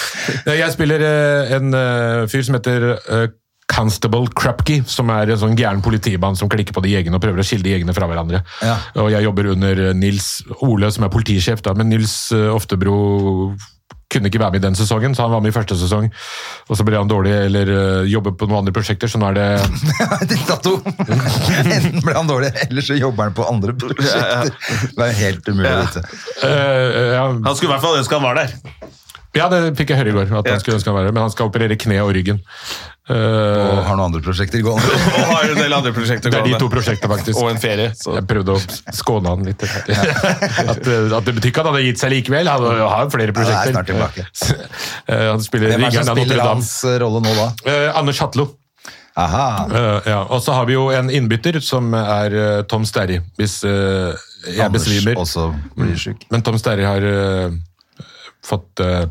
S3: Nei, jeg spiller eh, en eh, fyr som heter eh, Constable Krupke, som er en sånn gæren politimann som klikker på de jegene og prøver å skille de jegene fra hverandre.
S1: Ja.
S3: Og jeg jobber under eh, Nils Ole, som er politisjef, da, men Nils eh, Oftebro kunne ikke være med i den sesongen, så han var med i første sesong. Og så ble han dårlig, eller eh, jobber på noen andre prosjekter, så nå er det
S1: Diktator. Enten ble han dårlig, eller så jobber han på andre prosjekter. Det er helt umulig å vite.
S3: eh, ja,
S2: Han skulle i hvert fall ønske han var der.
S3: ja, det fikk jeg høre i går, at han skulle ønske han var her, men han skal operere kne og ryggen. Eh,
S1: Og har noen andre prosjekter gående.
S2: Og har en del andre prosjekter
S3: Det er de to
S2: gående.
S3: prosjektene, faktisk.
S2: Og en ferie. Så.
S3: Jeg prøvde å skåne han litt. At, eh, at det betyr ikke at han hadde gitt seg likevel. Han har jo
S1: Ja, det
S3: flere
S1: er
S3: prosjekter.
S1: snart tilbake.
S3: Eh, Han spiller
S1: Hvem er det
S3: ringeren
S1: som
S3: av
S1: spiller
S3: Notre-Dame.
S1: hans rolle nå, da?
S3: Eh, Anders Hatlo.
S1: Aha.
S3: Eh, ja. Og så har vi jo en innbytter som er eh, Tom Sterry, hvis eh, jeg
S1: Anders
S3: besvimer. Mm.
S1: også blir syk.
S3: Men Tom Sterry har eh, fått eh,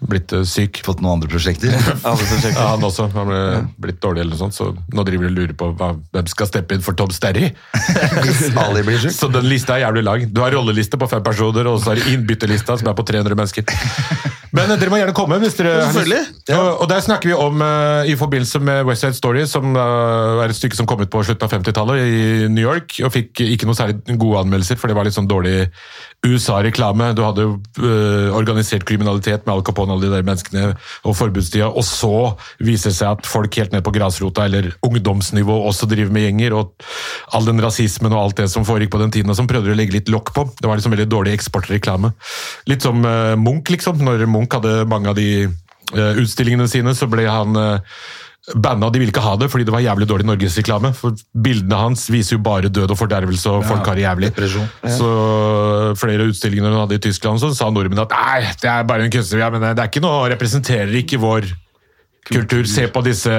S3: blitt eh, syk.
S1: Fått noen andre prosjekter.
S3: Ja, han også. Han ble blitt dårlig eller noe sånt, så nå driver de og lurer på hva, hvem skal steppe inn for Tom Sterry.
S1: Hvis Ali blir syk.
S3: Så den lista er jævlig lang. Du har rolleliste på fem personer, og så har du innbytterlista som er på 300 mennesker. Men eh, dere må gjerne komme. hvis dere har lyst.
S2: Selvfølgelig.
S3: Og, og der snakker vi om, eh, i forbindelse med West Side Story, som eh, er et stykke som kom ut på slutten av 50-tallet i New York, og fikk ikke noe særlig gode anmeldelser, for det var litt sånn dårlig USA-reklame. Du hadde jo eh, organisert kriminalitet med Al Capone og alle de der menneskene, og forbudstida, og så viser det seg at folk helt ned på grasrota, eller ungdomsnivå, også driver med gjenger, og all den rasismen og alt det som foregikk på den tiden, og som prøvde å legge litt lokk på. Det var liksom veldig dårlig eksportreklame. Litt som eh, Munch, liksom. Når Munch hadde mange av de eh, utstillingene sine, så ble han eh, banna. De ville ikke ha det fordi det var jævlig dårlig norgesreklame. For bildene hans viser jo bare død og fordervelse, og folk har det jævlig.
S1: depresjon.
S3: Så eh, flere av utstillingene hun hadde i Tyskland, så sa nordmennene at nei, det er bare en kunstner, ja, men eh, det er ikke noe, representerer ikke vår kultur. Se på disse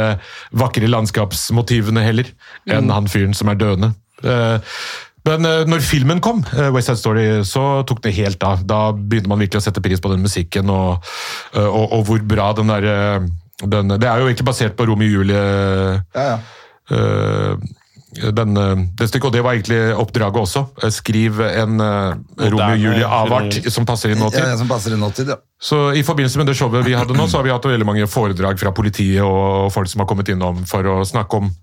S3: vakre landskapsmotivene heller, enn han fyren som er døende. Eh, Men eh, når filmen kom, eh, West Side Story, så tok det helt av. Da begynte man virkelig å sette pris på den musikken, og, eh, og, og hvor bra den der eh, den, Det er jo egentlig basert på Romeo og Julie
S1: Ja, ja.
S3: eh, den, eh, det stykket, og det var egentlig oppdraget også. Eh, Skriv en eh, Romeo og Julie-avart som passer i
S1: Ja,
S3: nåtid.
S1: ja, som passer i nåtid, ja.
S3: Så I forbindelse med det showet vi hadde nå, så har vi hatt veldig mange foredrag fra politiet og folk som har kommet innom for å snakke om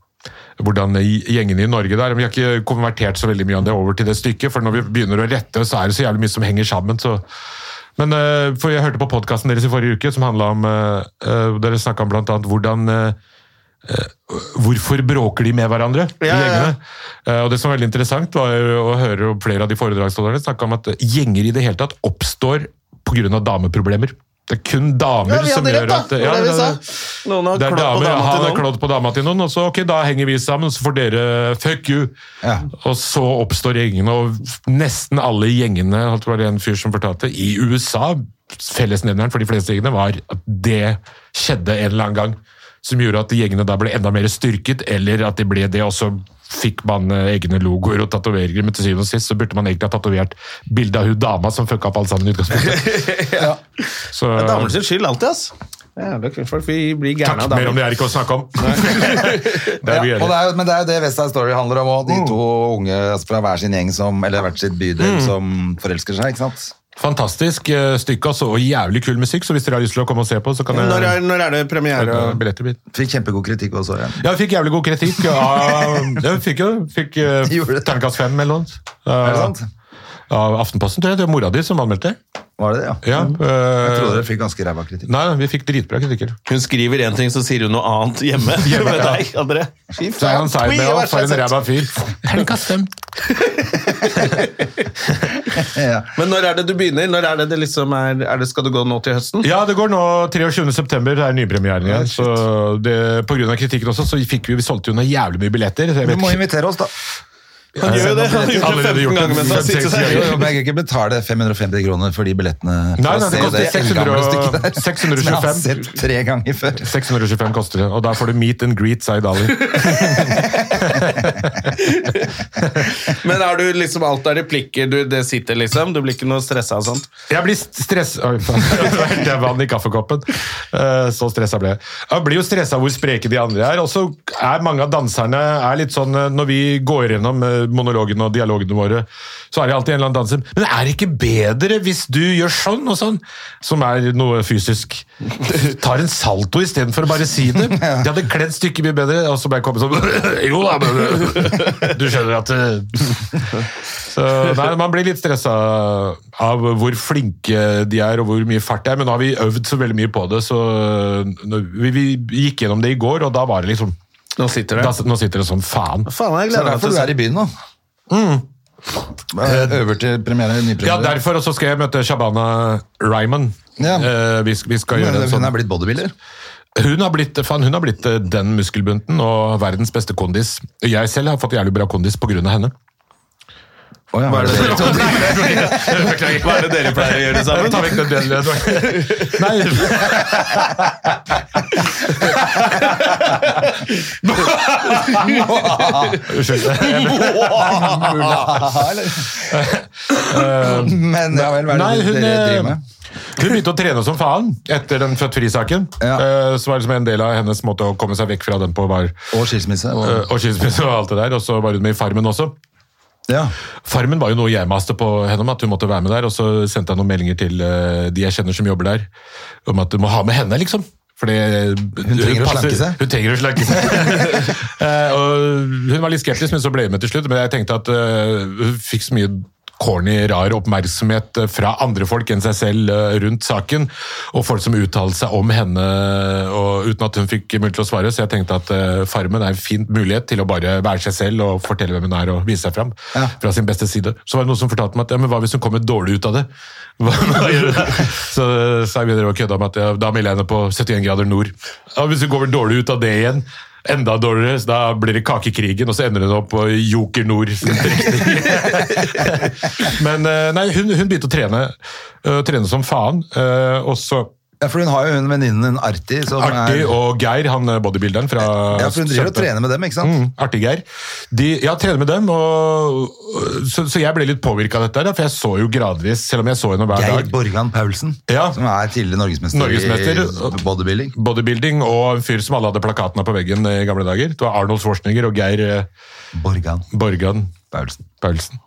S3: hvordan gjengene i Norge der, Vi har ikke konvertert så veldig mye av det over til det stykket, for når vi begynner å rette, så er det så jævlig mye som henger sammen. så... Men eh, for Jeg hørte på podkasten deres i forrige uke, som handla om eh, eh, Dere snakka om blant annet hvordan eh, eh, Hvorfor bråker de med hverandre? i
S2: Ja, ja, ja.
S3: gjengene? Eh, og Det som var veldig interessant, var jo å høre jo flere av de foredragsholderne snakke om at gjenger i det hele tatt oppstår pga. dameproblemer. Det er kun damer
S2: Ja, vi
S3: som
S2: hadde
S3: gjør
S2: rett, da!
S3: at
S2: Det var det vi sa. Noen har
S3: det er
S2: klådd på
S3: damer,
S2: dama
S3: han
S2: til
S3: har
S2: noen.
S3: klådd på dama til noen, og så ok, da henger vi sammen, så får dere fuck you.
S1: Ja.
S3: Og så oppstår gjengene, og nesten alle gjengene, holdt det var det en fyr som fortalte, i USA, fellesnevneren for de fleste gjengene, var at det skjedde en eller annen gang, som gjorde at gjengene da ble enda mer styrket, eller at de ble det, og så fikk man eh, egne logoer og tatoveringer, men til syvende og sist så burde man egentlig ha tatovert bildet av hun dama som fucka opp alt sammen i utgangspunktet. Så,
S2: Det er damer sin skyld alltid, ass. Jævla kvinnfolk. Vi blir
S3: Takk,
S2: gærne av
S3: mer
S2: damer.
S3: om det er ikke å snakke om.
S1: Ja,
S3: det Mm. er vi
S1: og
S3: gjør.
S1: det er, jo- men det er jo det West Side Story handler om, og de to unge altså, fra hver sin gjeng som, eller hvert sitt
S3: Mm.
S1: bydel som forelsker seg, ikke sant?
S3: Fantastisk eh, stykke altså, og jævlig kul musikk, så hvis dere har lyst til å komme og se på, så kan
S2: Når er,
S3: dere
S2: når er det premiere?
S3: billetter blir.
S1: Fikk kjempegod kritikk også, ja.
S3: Ja, jeg fikk jævlig god kritikk. Av, jeg fikk jo fikk, eh,
S1: Gjorde det.
S3: terningkast fem eller noe.
S1: Er det
S3: Av-
S1: sant?
S3: Av Aftenposten, tror jeg. Det var mora di som anmeldte.
S1: Var det det, ja?
S3: Ja,
S1: Mm. Jeg
S3: eh,
S1: trodde dere fikk ganske ræva kritikk.
S3: Nei, vi fikk dritbra kritikker.
S2: Hun skriver én ting, så sier hun noe annet hjemme. hjemme med deg, André. Fy
S3: Så er han seig med
S2: Ui,
S3: og
S2: vær så
S3: for en
S2: snill.
S3: ræva fyr. Terningkast fem.
S1: Ja.
S2: Men når er det du begynner? Når er det det liksom er, er det, Skal du gå nå til høsten?
S3: Ja, det går nå 23. september, det er nypremieren igjen. så det, på grunn av kritikken også, så fikk vi, vi solgte jo noe jævlig mye billetter. Så jeg
S1: Du
S3: vet
S1: må
S3: ikke.
S1: invitere oss, da.
S2: Han gjør jo det. Han har gjort det
S3: Allerede
S2: 15
S3: gjort det.
S2: ganger mens han sitter
S1: Jeg
S2: der.
S1: kan ikke betale 550 kroner for de billettene. for
S3: Nei,
S1: å
S3: nei, det
S1: se
S3: koster
S1: eldgamle stykket
S3: 600
S1: der, Som jeg har
S3: 625.
S1: sett tre ganger før.
S3: 625 koster det, og da får du meet and greet Zaid Ali.
S2: Men er du liksom alt er replikker, du, det sitter liksom? Du blir ikke noe stressa og sånt?
S3: Jeg blir stressa Det er vann i kaffekoppen. Eh, Så stressa ble jeg. Jeg blir jo stressa hvor spreke de andre er. Og så er mange av danserne er litt sånn eh, Når vi går gjennom eh, monologene og dialogene våre, så er det alltid en eller annen danser Men er det ikke bedre hvis du gjør sånn og sånn? Som er noe fysisk. Tar en salto istedenfor å bare si det. De hadde kledd stykket mye bedre, og så ble jeg kommet sånn Jo da, men Du skjønner at eh, så, nei, Man blir litt stressa av hvor flinke de er og hvor mye fart det er, men nå har vi øvd så veldig mye på det. så når, vi, vi gikk gjennom det i går, og da var det liksom
S2: Nå sitter
S3: da,
S2: det.
S3: Nå sitter det sånn faen.
S2: Faen, jeg
S1: Så det er
S2: gleder meg
S1: derfor
S2: til å
S1: du
S2: se.
S1: er i byen nå. Øver til premiere,
S3: Mm. Ja,
S1: nypremiere.
S3: derfor også skal jeg møte Shabana Ryman.
S1: Ja.
S3: Eh, vi, vi skal gjøre en
S1: Hun
S3: sånn
S1: er blitt bodybuilder.
S3: Hun har blitt, faen, hun har blitt eh, den muskelbunten og verdens beste kondis. Jeg selv har fått jævlig bra kondis pga. henne.
S1: Å ja,
S2: Hva er det dere-
S1: det-
S2: Hva er det dere pleier å gjøre
S3: Ta
S2: sammen?
S3: vekk den delen. Nei,
S1: Men ja vel, hva er det
S3: Eh, Nei, hun,
S1: dere driver
S3: eh,
S1: med?
S3: Hun begynte å trene som faen etter den født fri-saken.
S1: Ja.
S3: eh, Som var liksom en del av hennes måte å komme seg vekk fra den på. Var,
S1: Og skilsmisse. Og,
S3: eh, og skilsmisse og alt det der. Og så var hun med i Farmen også.
S1: ja.
S3: Farmen var jo noe jeg maste på henne om, at hun måtte være med der. Og så sendte jeg noen meldinger til eh, de jeg kjenner som jobber der, om at du må ha med henne, liksom. Fordi hun
S1: trenger å
S3: passer-
S1: slanke seg.
S3: Hun trenger å slanke seg. Eh, og hun var litt skeptisk, men så ble hun med til slutt. Men jeg tenkte at eh, hun fikk så mye corny, rar oppmerksomhet eh, fra andre folk enn seg selv eh, rundt saken, og folk som uttalte seg om henne og, uten at hun fikk mulighet til å svare. Så jeg tenkte at eh, Farmen er en fin mulighet til å bare være seg selv og fortelle hvem hun er og vise seg fram
S1: Ja.
S3: fra sin beste side. Så var det noen som fortalte meg at ja, men hva hvis hun kommer dårlig ut av det? Hva, hva gjør du da? Så sa jeg videre og kødda med at ja, da melder jeg henne på 71 grader nord. Ja, hvis hun kommer dårlig ut av det igjen, enda dårligere, så da blir det kakekrigen, og så ender hun opp på Joker Nord. sin trekning. men eh, nei, hun, hun begynte å trene, eh, trene som faen, eh, og så
S1: ja, for hun har jo hun venninnen din Arti. Som
S3: Artig
S1: er,
S3: og Geir, han eh, bodybuilderen fra
S1: ja, for hun driver og
S3: Kjempe-
S1: trener med dem, ikke sant?
S3: Mm, artig, Geir. De, ja, trene med dem, og, og- så, så jeg ble litt påvirka av dette, her, da, for jeg så jo gradvis, selv om jeg så henne hver
S1: Geir
S3: dag.
S1: Borgan Paulsen,
S3: Ja.
S1: som er tidligere norgesmester,
S3: Norgesmester.
S1: i bodybuilding.
S3: Bodybuilding og en fyr som alle hadde plakatene på veggen i gamle dager. Det var Arnold Schwarzenegger og Geir eh,
S1: Borgan
S3: Borgan
S1: Paulsen.
S3: Paulsen.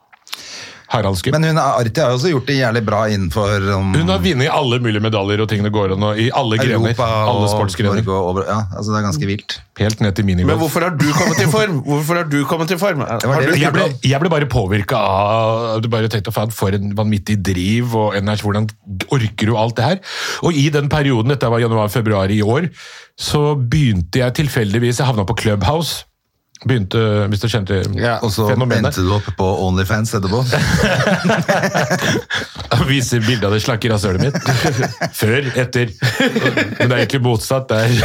S3: Haraldsky.
S1: Men hun, Arti har jo også gjort det jævlig bra innenfor um,
S3: Hun har vunnet alle mulige medaljer og ting det går an, og i alle grener.
S1: Europa
S3: Alle
S1: og
S3: sportsgrener.
S1: Norge. Og, over- ja, altså det er ganske vilt.
S3: Helt ned til
S2: Men
S3: minigolf.
S2: hvorfor har du kommet i form? Hvorfor har du kommet i form?
S1: var
S2: Har
S1: det
S2: du,
S1: vi
S3: Jeg ble,
S1: spurte om.
S3: jeg ble bare påvirka av Du bare tenkte faen, for en vanvittig driv og energi. Hvordan orker du alt det her? Og i den perioden, dette var januar-februar i år, så begynte jeg tilfeldigvis Jeg havna på Clubhouse. Begynte, hvis du kjente
S2: Ja,
S1: Og så
S3: fenomenet.
S1: endte du opp på Onlyfans etterpå.
S3: Viser bilde av det slakke rasshølet mitt. Før, etter. Men det er egentlig motsatt. Det er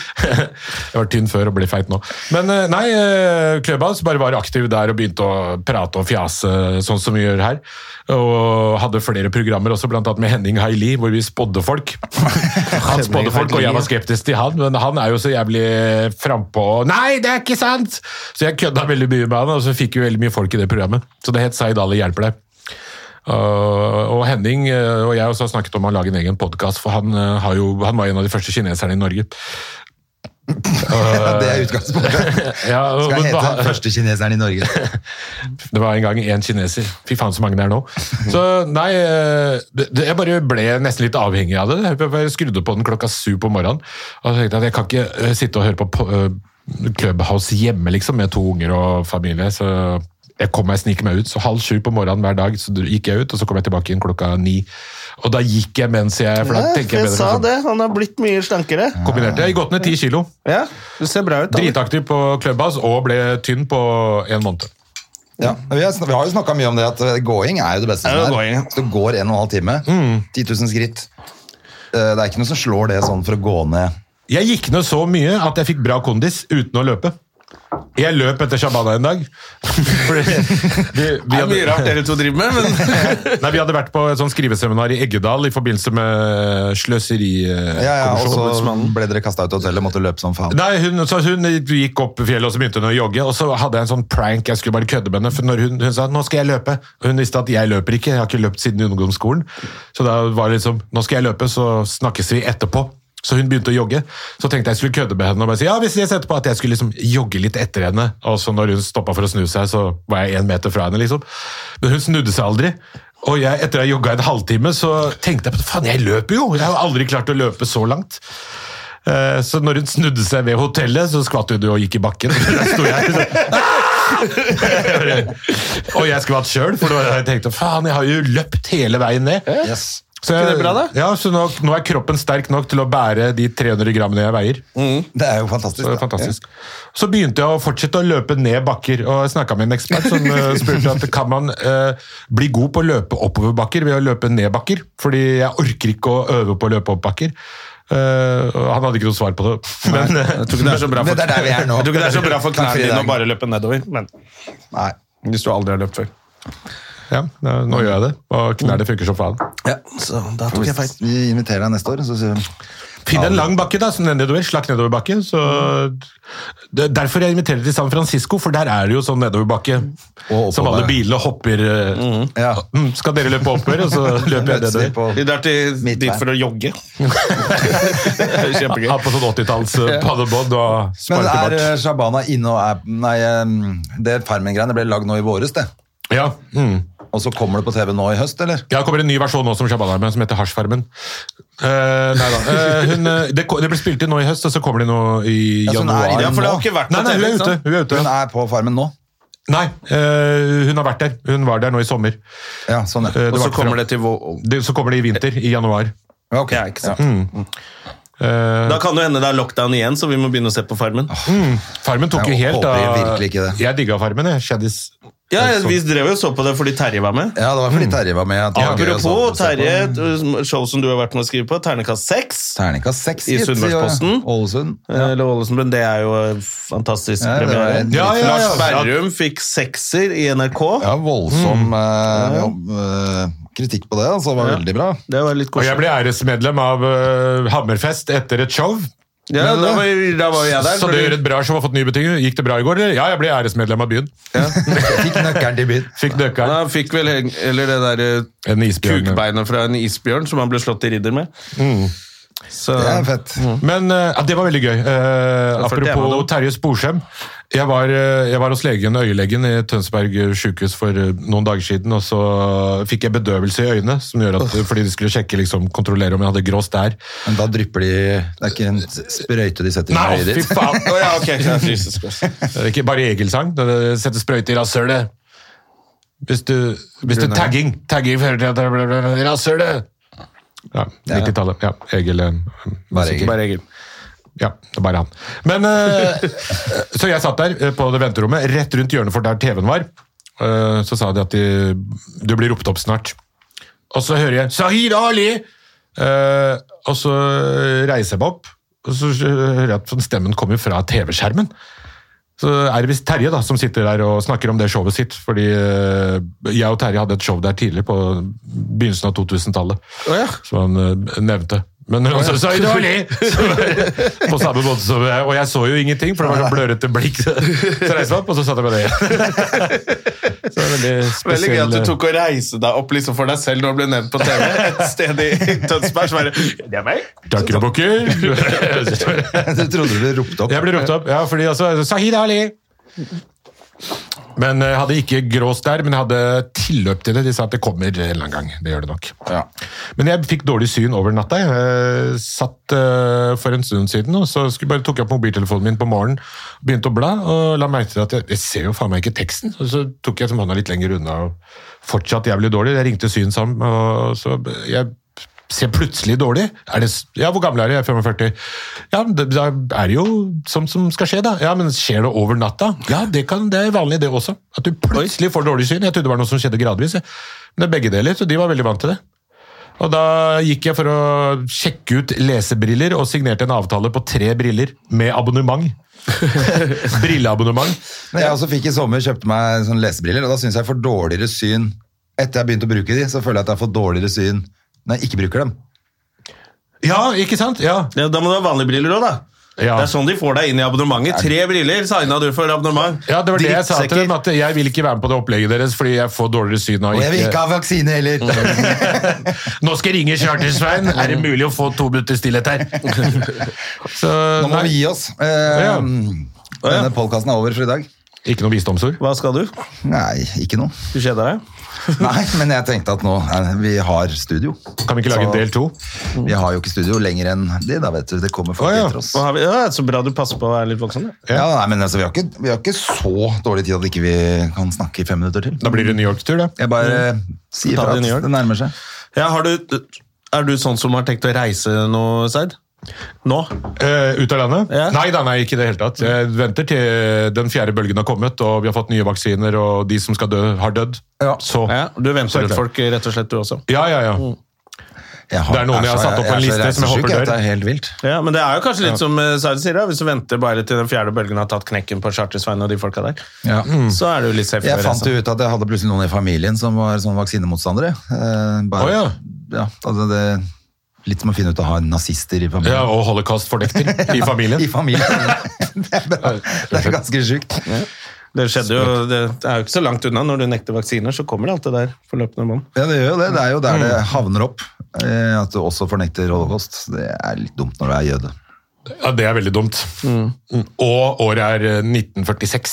S3: jeg var tynn før og ble feit nå. Men eh, nei, eh, Clubhouse bare var aktiv der og begynte å prate og fjase sånn som vi gjør her. Og hadde flere programmer også, blant annet med Henning Haili, hvor vi spådde folk. Han spådde folk, og jeg var skeptisk til han, men han er jo så jævlig frampå. Nei, det er ikke sant! Så jeg kødda veldig mye med han, og så fikk vi veldig mye folk i det programmet. Så det het Zaid Ali hjelper deg. Uh, og Henning uh, og jeg også har snakket om å lage en egen podkast, for han, uh, har jo, han var en av de første kineserne i Norge.
S1: Ja, det er utgangspunktet.
S3: Ja, og-
S1: Skal jeg
S3: men
S1: hete
S3: hva-
S1: den første kineseren i Norge.
S3: Det var en gang én kineser. Fy faen, så mange det er nå. Så nei, eh, det, det- jeg bare ble nesten litt avhengig av det. Jeg bare skrudde på den klokka syv på morgenen. Og så tenkte jeg at jeg kan ikke eh, sitte og høre på po- eh, Clubhouse hjemme liksom, med to unger og familie. Så jeg kom meg sniker meg ut. Så halv sju på morgenen hver dag så gikk jeg ut, og så kom jeg tilbake inn klokka ni. Og da gikk jeg mens jeg For da tenker jeg bedre.
S2: sa
S3: sånn.
S2: det, han har blitt mye slankere.
S3: Kombinerte. Jeg gikk godt ned ti kilo.
S2: Ja, Du ser bra ut. da.
S3: Dritaktiv på Clubhouse og ble tynn på en måned.
S1: Ja, men vi, har, sn- vi har jo snakka mye om det, at eh, gåing er jo det beste.
S2: Ja,
S1: som
S2: gåing, ja.
S1: Så du går en og en halv time.
S3: Mm.
S1: 10 000 skritt. Eh, Det er ikke noe som slår det sånn for å gå ned.
S3: Jeg gikk ned så mye at jeg fikk bra kondis uten å løpe. Jeg løp etter Shabana en dag. Fordi vi, vi,
S2: Det er mye rart
S3: hadde,
S2: dere to driver med, men
S3: nei, vi hadde vært på et sånt skriveseminar i Eggedal i forbindelse med eh, sløserikommisjonen.
S1: Ja, ja, og så ble dere kasta ut av hotellet, måtte løpe som faen.
S3: Nei, hun, så hun gikk opp i fjellet og så begynte hun å jogge, og så hadde jeg en sånn prank, jeg skulle bare kødde med henne, for når hun, hun sa nå skal jeg løpe, og hun visste at jeg løper ikke, jeg har ikke løpt siden ungdomsskolen, så da var det liksom, nå skal jeg løpe, så snakkes vi etterpå. Så hun begynte å jogge, så tenkte jeg skulle kødde med henne og bare si, ja, vi ses etterpå, at jeg skulle liksom jogge litt etter henne, og så når hun stoppet for å snu seg, så var jeg en meter fra henne liksom. Men hun snudde seg aldri, og jeg, etter å ha jogget en halvtime, så tenkte jeg, på, faen, jeg løper jo, jeg har jo aldri klart å løpe så langt. Eh, Så når hun snudde seg ved hotellet, så skvatt hun og gikk i bakken. Der sto jeg sånn. «Ah!» og jeg skvatt sjøl, for da jeg tenkte jeg faen, jeg har jo løpt hele veien ned.
S1: Yes.
S3: Så,
S2: Ikke
S3: jeg,
S2: det bra, da?
S3: Ja, så nå, nå er kroppen sterk nok til å bære de 300 grammene jeg veier.
S1: Det er jo fantastisk.
S3: Så det er
S1: da.
S3: fantastisk. Så begynte jeg å fortsette å løpe ned bakker, og jeg snakka med en ekspert som eh, spurte at kan man eh, bli god på å løpe oppoverbakker ved å løpe ned bakker? Fordi jeg orker ikke å øve på å løpe opp bakker. Eh, og han hadde ikke noe svar på det. Men, eh,
S2: Jeg tror ikke det er så bra
S1: Men
S2: for,
S1: det er der vi er nå.
S2: Jeg tror ikke det er så bra for
S1: Takk for i
S2: knærne dine
S1: dag.
S2: å bare løpe nedover. Men
S1: Nei.
S2: hvis du aldri har løpt før.
S3: Ja, nå nå
S2: Mm.
S3: gjør jeg det. Og knærne funker som faen.
S2: Ja, så da tok jeg feil.
S1: Vi inviterer deg neste år, så sier vi
S3: Finn en lang bakke, da, som den nedover. Slakk nedoverbakke. Så det, er derfor jeg inviterer til San Francisco, for der er det jo sånn nedoverbakke.
S1: Og oppover.
S3: Som alle bilene hopper eh,
S1: Ja.
S3: mm, Skal dere løpe oppover, og så løper jeg
S1: Møtes vi
S3: nedover.
S1: på
S2: Vi drar til,
S1: Midt
S2: dit
S1: der.
S2: for å jogge. Kjempegøy.
S3: Ha på sånn 80-talls eh, paddebånd og
S1: Men er
S3: sparkebart.
S1: eh, Shabana inne og er Nei, eh, det Farmen-greiene ble lagd nå i våres, det.
S3: Ja, mm.
S1: Og så kommer det på TV nå i høst, eller?
S3: Ja, det kommer en ny versjon nå som Shabana er med, som heter Hasjfarmen. Eh, nei da. Eh, hun, eh, det, ko- det ble spilt inn nå i høst, og så kommer det nå i
S1: Ja, så hun er
S3: januar.
S1: i det
S2: Ja, for det har
S1: nå.
S2: ikke vært
S3: Nei,
S2: på
S3: nei, hun
S2: TV,
S3: er
S2: ikke
S3: ute.
S2: sant?
S3: Hun er ute.
S1: Hun er på Farmen nå.
S3: Nei, eh, hun har vært der. Hun var der nå i sommer.
S1: Ja, sånn,
S3: Eh,
S1: ja.
S3: det
S2: Og
S3: var
S2: så
S3: ikke
S2: kommer
S3: fra-
S2: det til vår...
S3: det, Så kommer det i vinter, i januar.
S1: Ja, ok.
S2: Ja, ikke sant.
S1: Ja.
S3: Eh,
S2: Da kan det hende det er lockdown igjen, så vi må begynne å se på Farmen.
S3: farmen tok jo
S1: Jeg
S3: helt
S1: håper
S3: av.
S1: virkelig ikke det.
S3: Jeg digga Farmen, jeg. Kjendis.
S2: Ja, vi drev jo og så på det fordi Terje var med.
S1: ja, det var fordi Terje var med. at det var gøy å
S2: Apropos
S1: se på.
S2: Terje, et mm, show som du har vært med å skrive på, Ternekast 6.
S1: Terningkast seks
S2: I
S1: gitt, sier
S2: Sunnmørsposten.
S1: jeg. Ålesund.
S2: Eller Ålesund, men det er jo en fantastisk
S1: Ja, det var
S2: premiere.
S1: en-
S3: Ja, ja, ja.
S2: Lars Berrum fikk sekser i NRK.
S1: Ja, voldsom eh, ja, eh, kritikk på det. Altså, det var
S2: Mm. Ja.
S1: veldig bra.
S2: Det var litt
S3: Og jeg
S2: koselig.
S3: ble æresmedlem av eh, Hammerfest etter et show.
S2: Ja, da var, da var jeg der.
S3: så det gjør et bra show, har fått nye betingelser. Gikk det bra i går, eller? Ja, jeg ble æresmedlem av byen.
S1: Fikk nøkkelen til byen.
S3: Fikk
S2: Ja,
S3: nøkkelen.
S2: han fikk vel heng- eller det der eh,
S3: En isbjørn.
S2: kukbeinet fra en isbjørn som han ble slått i ridder med. Så,
S1: Mm. Det er fett.
S3: Men eh, ja, det var veldig gøy. Eh,
S2: Ja, for det var
S3: apropos
S2: det.
S3: Terje Sporsem. Jeg var, eh, jeg var hos legen, øyelegen i Tønsberg sykehus for eh, noen dager siden, og så fikk jeg bedøvelse i øynene, som gjør at, fordi de skulle sjekke, liksom, kontrollere om jeg hadde grå stær.
S1: Men da drypper de Det er ikke en sprøyte de setter i
S3: Nei,
S1: øyet
S3: fy
S1: ditt.
S3: faen!
S2: Å ja, ok, ja, Jesus Christ.
S3: Det er Ikke bare Egil-sang. det er- Sette sprøyte i rasshølet. Hvis du, hvis du
S2: Grunner.
S3: tagging tagging fører til at det blir blir- blir rasshølet! Ja, 90-tallet. Ja, Egil. eh,
S1: Bare Egil.
S2: Bare Egil.
S3: Ja, det er bare han. Men, eh, så jeg satt der eh, på det venterommet, rett rundt hjørnet for der TV-en var. Eh, så sa de at de, du blir ropt opp snart. Og så hører jeg Sahir Ali! Eh, og så reiser jeg meg opp, og så hører jeg at sånn stemmen kommer fra TV-skjermen. Så er det visst Terje da, som sitter der og snakker om det showet sitt. Fordi eh, jeg og Terje hadde et show der tidlig, på begynnelsen av 2000-tallet. Som han eh, nevnte. Men han sa «Sa dårlig! Så var- På samme måte som jeg. Og jeg så jo ingenting, for det var sånn blørete blikk. Så reiste jeg meg opp, og så satt jeg med det igjen. Så det er veldig spesiell eh,
S2: Veldig gøy at du tok og reise deg opp liksom for deg selv når du ble nevnt på TV. Et sted i Tønsberg som bare Det er meg!
S3: Takker og bukker!
S1: Du trodde du ble ropt opp.
S3: Jeg ble ropt opp, ja, fordi altså Sahid Ali! Men jeg hadde ikke grås der, men jeg hadde tilløp til det. De sa at det kommer en eller annen gang. Det gjør det nok.
S1: Ja.
S3: Men jeg fikk dårlig syn over natta. Jeg satt eh, for en stund siden, og så skulle jeg bare tok jeg opp mobiltelefonen min på morgenen, begynte å bla, og la merke til at jeg, jeg ser jo faen meg ikke teksten. Og så tok jeg som hånda litt lenger unna, og fortsatt jævlig dårlig. Jeg ringte Syn sammen, og så jeg ser plutselig dårlig. Er det, s- ja, hvor gammel er du? Jeg er 45. Ja, men det- da er det jo sånt som skal skje, da. Ja, men skjer det over natta? Ja, det, kan, det er vanlig det også. At du plutselig får dårlig syn. Jeg trodde det var noe som skjedde gradvis. jeg. Men det er begge deler, så de var veldig vant til det. Og da gikk jeg for å sjekke ut lesebriller, og signerte en avtale på tre briller med abonnement. Brilleabonnement.
S1: Men jeg også fikk i sommer kjøpte meg sånn lesebriller, og da syns jeg jeg får dårligere syn Etter jeg begynte å bruke de, så føler jeg at jeg får dårligere syn når jeg ikke bruker dem.
S3: Ja, ikke sant? Ja.
S2: Ja, da må du ha vanlige briller òg, da.
S3: Ja.
S2: Det er sånn de får deg inn i abonnementet. Tre briller signa du for abonnement.
S3: Ja, det var det jeg sa til
S2: Drittsekker.
S3: dem, at jeg vil ikke være med på det opplegget deres fordi jeg får dårligere syn av
S1: Og jeg vil ikke
S3: ikke
S1: ha vaksine heller!
S3: Nå skal jeg ringe Charter-Svein, er det mulig å få to minutter stillhet her? Så,
S1: Nå må vi
S3: nei,
S1: gi oss. Eh,
S3: Ja.
S1: Denne podkasten er over for i dag.
S3: ikke noe visdomsord.
S2: Hva skal du?
S1: Nei, ikke noe.
S2: Du kjeder deg?
S1: Nei, men jeg tenkte at nå eh, Vi har studio.
S3: Kan vi ikke lage en del to?
S1: Vi har jo ikke studio lenger enn de, da, vet du. Det kommer folk
S3: Å, ja.
S1: etter oss.
S2: Hva har vi? Ja, så bra du passer på å være litt voksen. da.
S1: Ja, nei, men altså, vi, har ikke, vi har ikke så dårlig tid at ikke vi kan snakke i fem minutter til.
S3: Da blir det New York-tur, da.
S1: Jeg bare eh, sier
S2: Ta
S1: fra
S2: det i New York.
S1: at det nærmer seg.
S2: Ja, har du, er du sånn som har tenkt å reise noe, Seid? Nå?
S3: Eh, ut av landet?
S2: Ja.
S3: Nei da, nei, ikke i det hele tatt. Jeg venter til den fjerde bølgen har kommet, og vi har fått nye vaksiner, og de som skal dø, har dødd.
S1: Ja.
S3: Så
S2: Ja, du venter
S3: Selvfølgelig.
S2: ut folk, rett og slett, du også.
S3: Ja, ja, ja.
S1: Jeg har-
S3: Det er noen jeg
S1: er
S3: har
S1: så-
S3: satt opp på en
S1: er så
S3: liste som jeg
S1: reisesyk,
S3: håper dør.
S1: at Det er helt vilt.
S2: Ja, Men det er jo kanskje litt som eh, Seid sier, da. hvis du venter bare til den fjerde bølgen har tatt knekken på Charter-Svein og de folka der, så er du litt safe.
S1: Jeg
S2: å
S1: fant
S2: reise.
S1: jo ut at jeg hadde plutselig noen i familien som var sånn vaksinemotstandere. Eh, bare,
S3: Å, ja.
S1: ja, altså det, Litt som å finne ut å ha nazister i familien.
S3: Ja, og holocaust-fornekter i familien.
S1: I familien. det, er bra. det er ganske sjukt.
S2: Det skjedde jo, det er jo ikke så langt unna. Når du nekter vaksiner, så kommer alt det der forløpende bånd.
S1: Ja, det gjør jo det. Det er jo der det havner opp. eh, At du også fornekter holocaust. Det er litt dumt når du er jøde.
S3: Ja, det er veldig dumt. Mm. Og året er eh, 1946.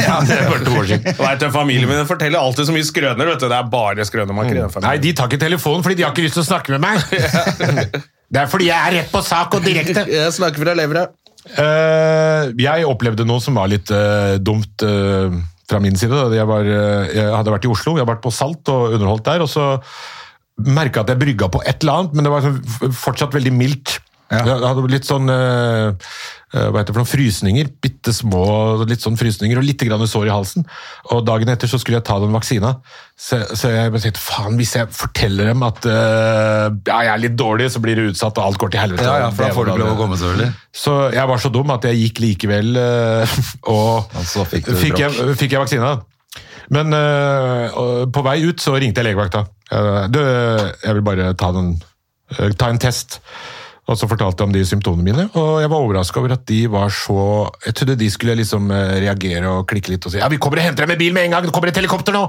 S1: Ja,
S3: Det er bare to år siden.
S2: Jeg vet, du, Familien min forteller alltid så mye skrøner. vet du. Det er bare skrønemaker i den
S3: Nei,
S2: familien.
S3: de tar ikke telefonen fordi de har ikke lyst til å snakke med meg. Det er fordi jeg er rett på sak og direkte.
S2: Jeg snakker fra levra.
S3: Eh, jeg opplevde noe som var litt eh, dumt eh, fra min side. Da. Jeg, var, eh, jeg hadde vært i Oslo, jeg hadde vært på Salt og underholdt der, og så merka at jeg brygga på et eller annet, men det var sånn f- fortsatt veldig mildt. Jeg hadde litt sånn eh, eh, hva heter det for noen frysninger, bitte små litt sånn frysninger og litt grann sår i halsen. Og dagen etter så skulle jeg ta den vaksina. Så, så jeg bare tenkte faen, hvis jeg forteller dem at eh, ja, jeg er litt dårlig, så blir det utsatt og alt går til helvete.
S1: Ja, ja, for da får du ikke lov å komme, selvfølgelig.
S3: Så jeg var så dum at jeg gikk likevel, eh, og
S1: Og så fikk
S3: fikk,
S1: du
S3: jeg, fikk jeg vaksina. Men eh, og på vei ut så ringte jeg legevakta. Eh, Du, jeg vil bare ta, den, eh, ta en test. Og så fortalte jeg om de symptomene mine, og jeg var overraska over at de var så Jeg trodde de skulle liksom eh, reagere og klikke litt og si ja, vi kommer og henter deg med bil med en gang, det kommer et helikopter nå!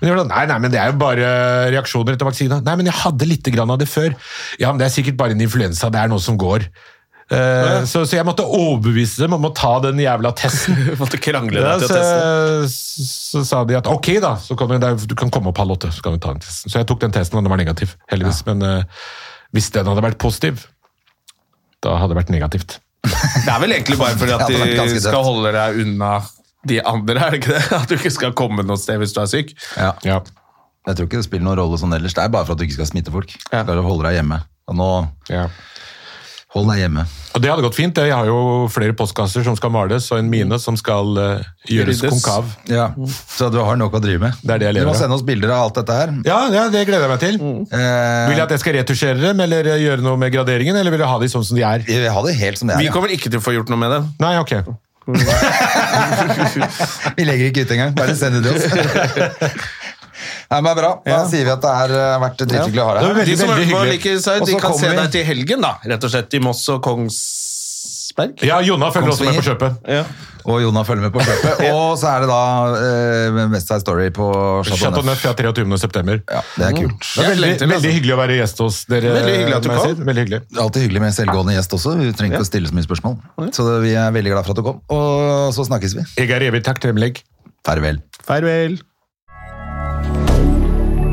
S3: Men de var sånn, nei, nei, men det er jo bare reaksjoner etter vaksina. Nei, men jeg hadde litt grann av det før. Ja, men det er sikkert bare en influensa, det er noe som går. Eh, så, så jeg måtte overbevise dem om å ta den jævla testen.
S2: Måtte krangle
S3: Ja,
S2: deg til å teste.
S3: så, så sa de at ok, da, så kan du, du kan komme opp halv åtte. Så kan vi ta den testen. Så jeg tok den testen, og den var negativ, heldigvis. Men eh, hvis den hadde vært positiv, da hadde det vært negativt.
S2: Det er vel egentlig bare for
S1: Ja,
S2: at
S1: det var
S2: de
S1: ganske dødt.
S2: skal holde deg unna de andre, er det ikke det? At du ikke skal komme noe sted hvis du er syk.
S1: Ja.
S3: Ja.
S1: Jeg tror ikke det spiller noen rolle sånn ellers. Det er bare for at du ikke skal smitte folk.
S2: Ja.
S1: Skal du holde deg hjemme. Og nå, hold deg hjemme.
S3: Og det hadde gått fint. det. Jeg har jo flere postkasser som skal males, og en mine som skal eh, gjøres
S2: Ryddes.
S3: konkav.
S1: Ja, Så du har nok å drive med.
S3: Det er det jeg lever
S1: du må
S3: av.
S1: sende oss bilder av alt dette her.
S3: Ja, ja, det gleder jeg meg til.
S1: Eh,
S3: Vil jeg at jeg skal retusjere dem, eller eh, gjøre noe med graderingen, eller vil jeg ha de sånn som de er?
S1: vi har det helt som det er.
S2: Vi
S1: ja.
S2: kommer ikke til å få gjort noe med det.
S3: Nei, ok.
S1: Vi legger ikke ut engang. Bare send det til oss. Nei, men det er bra. Da sier vi at det har eh, vært drithyggelig å ha deg her.
S3: Det var
S2: De som
S3: veldig
S2: hører på
S3: hyggelig.
S2: liker seg,
S1: Og
S2: de
S1: så
S2: kan se
S1: kommer vi.
S2: deg til helgen, da. Rett og slett i Moss og Kongsberg.
S3: Ja, Jonna følger også med på kjøpet.
S2: Ja.
S1: Og Jonna følger med på kjøpet. Og så er det da eh, West Side Story på
S3: Chateau
S1: Chateau Neuf.
S3: Neuf ja, 23. september.
S1: Ja, det er kult.
S3: Det er veldig,
S2: Jeg lengter,
S3: veldig hyggelig å være gjest hos dere.
S2: Veldig hyggelig at du
S3: må jeg
S2: kom.
S3: si. Veldig hyggelig.
S1: Det er Alltid hyggelig med selvgående gjest også. Vi trenger ikke å stille så mye spørsmål. Så det, vi er veldig glad for at du kom. Og så snakkes vi.
S3: Jeg er evig takknemlig.
S1: Farvel.
S2: Farvel.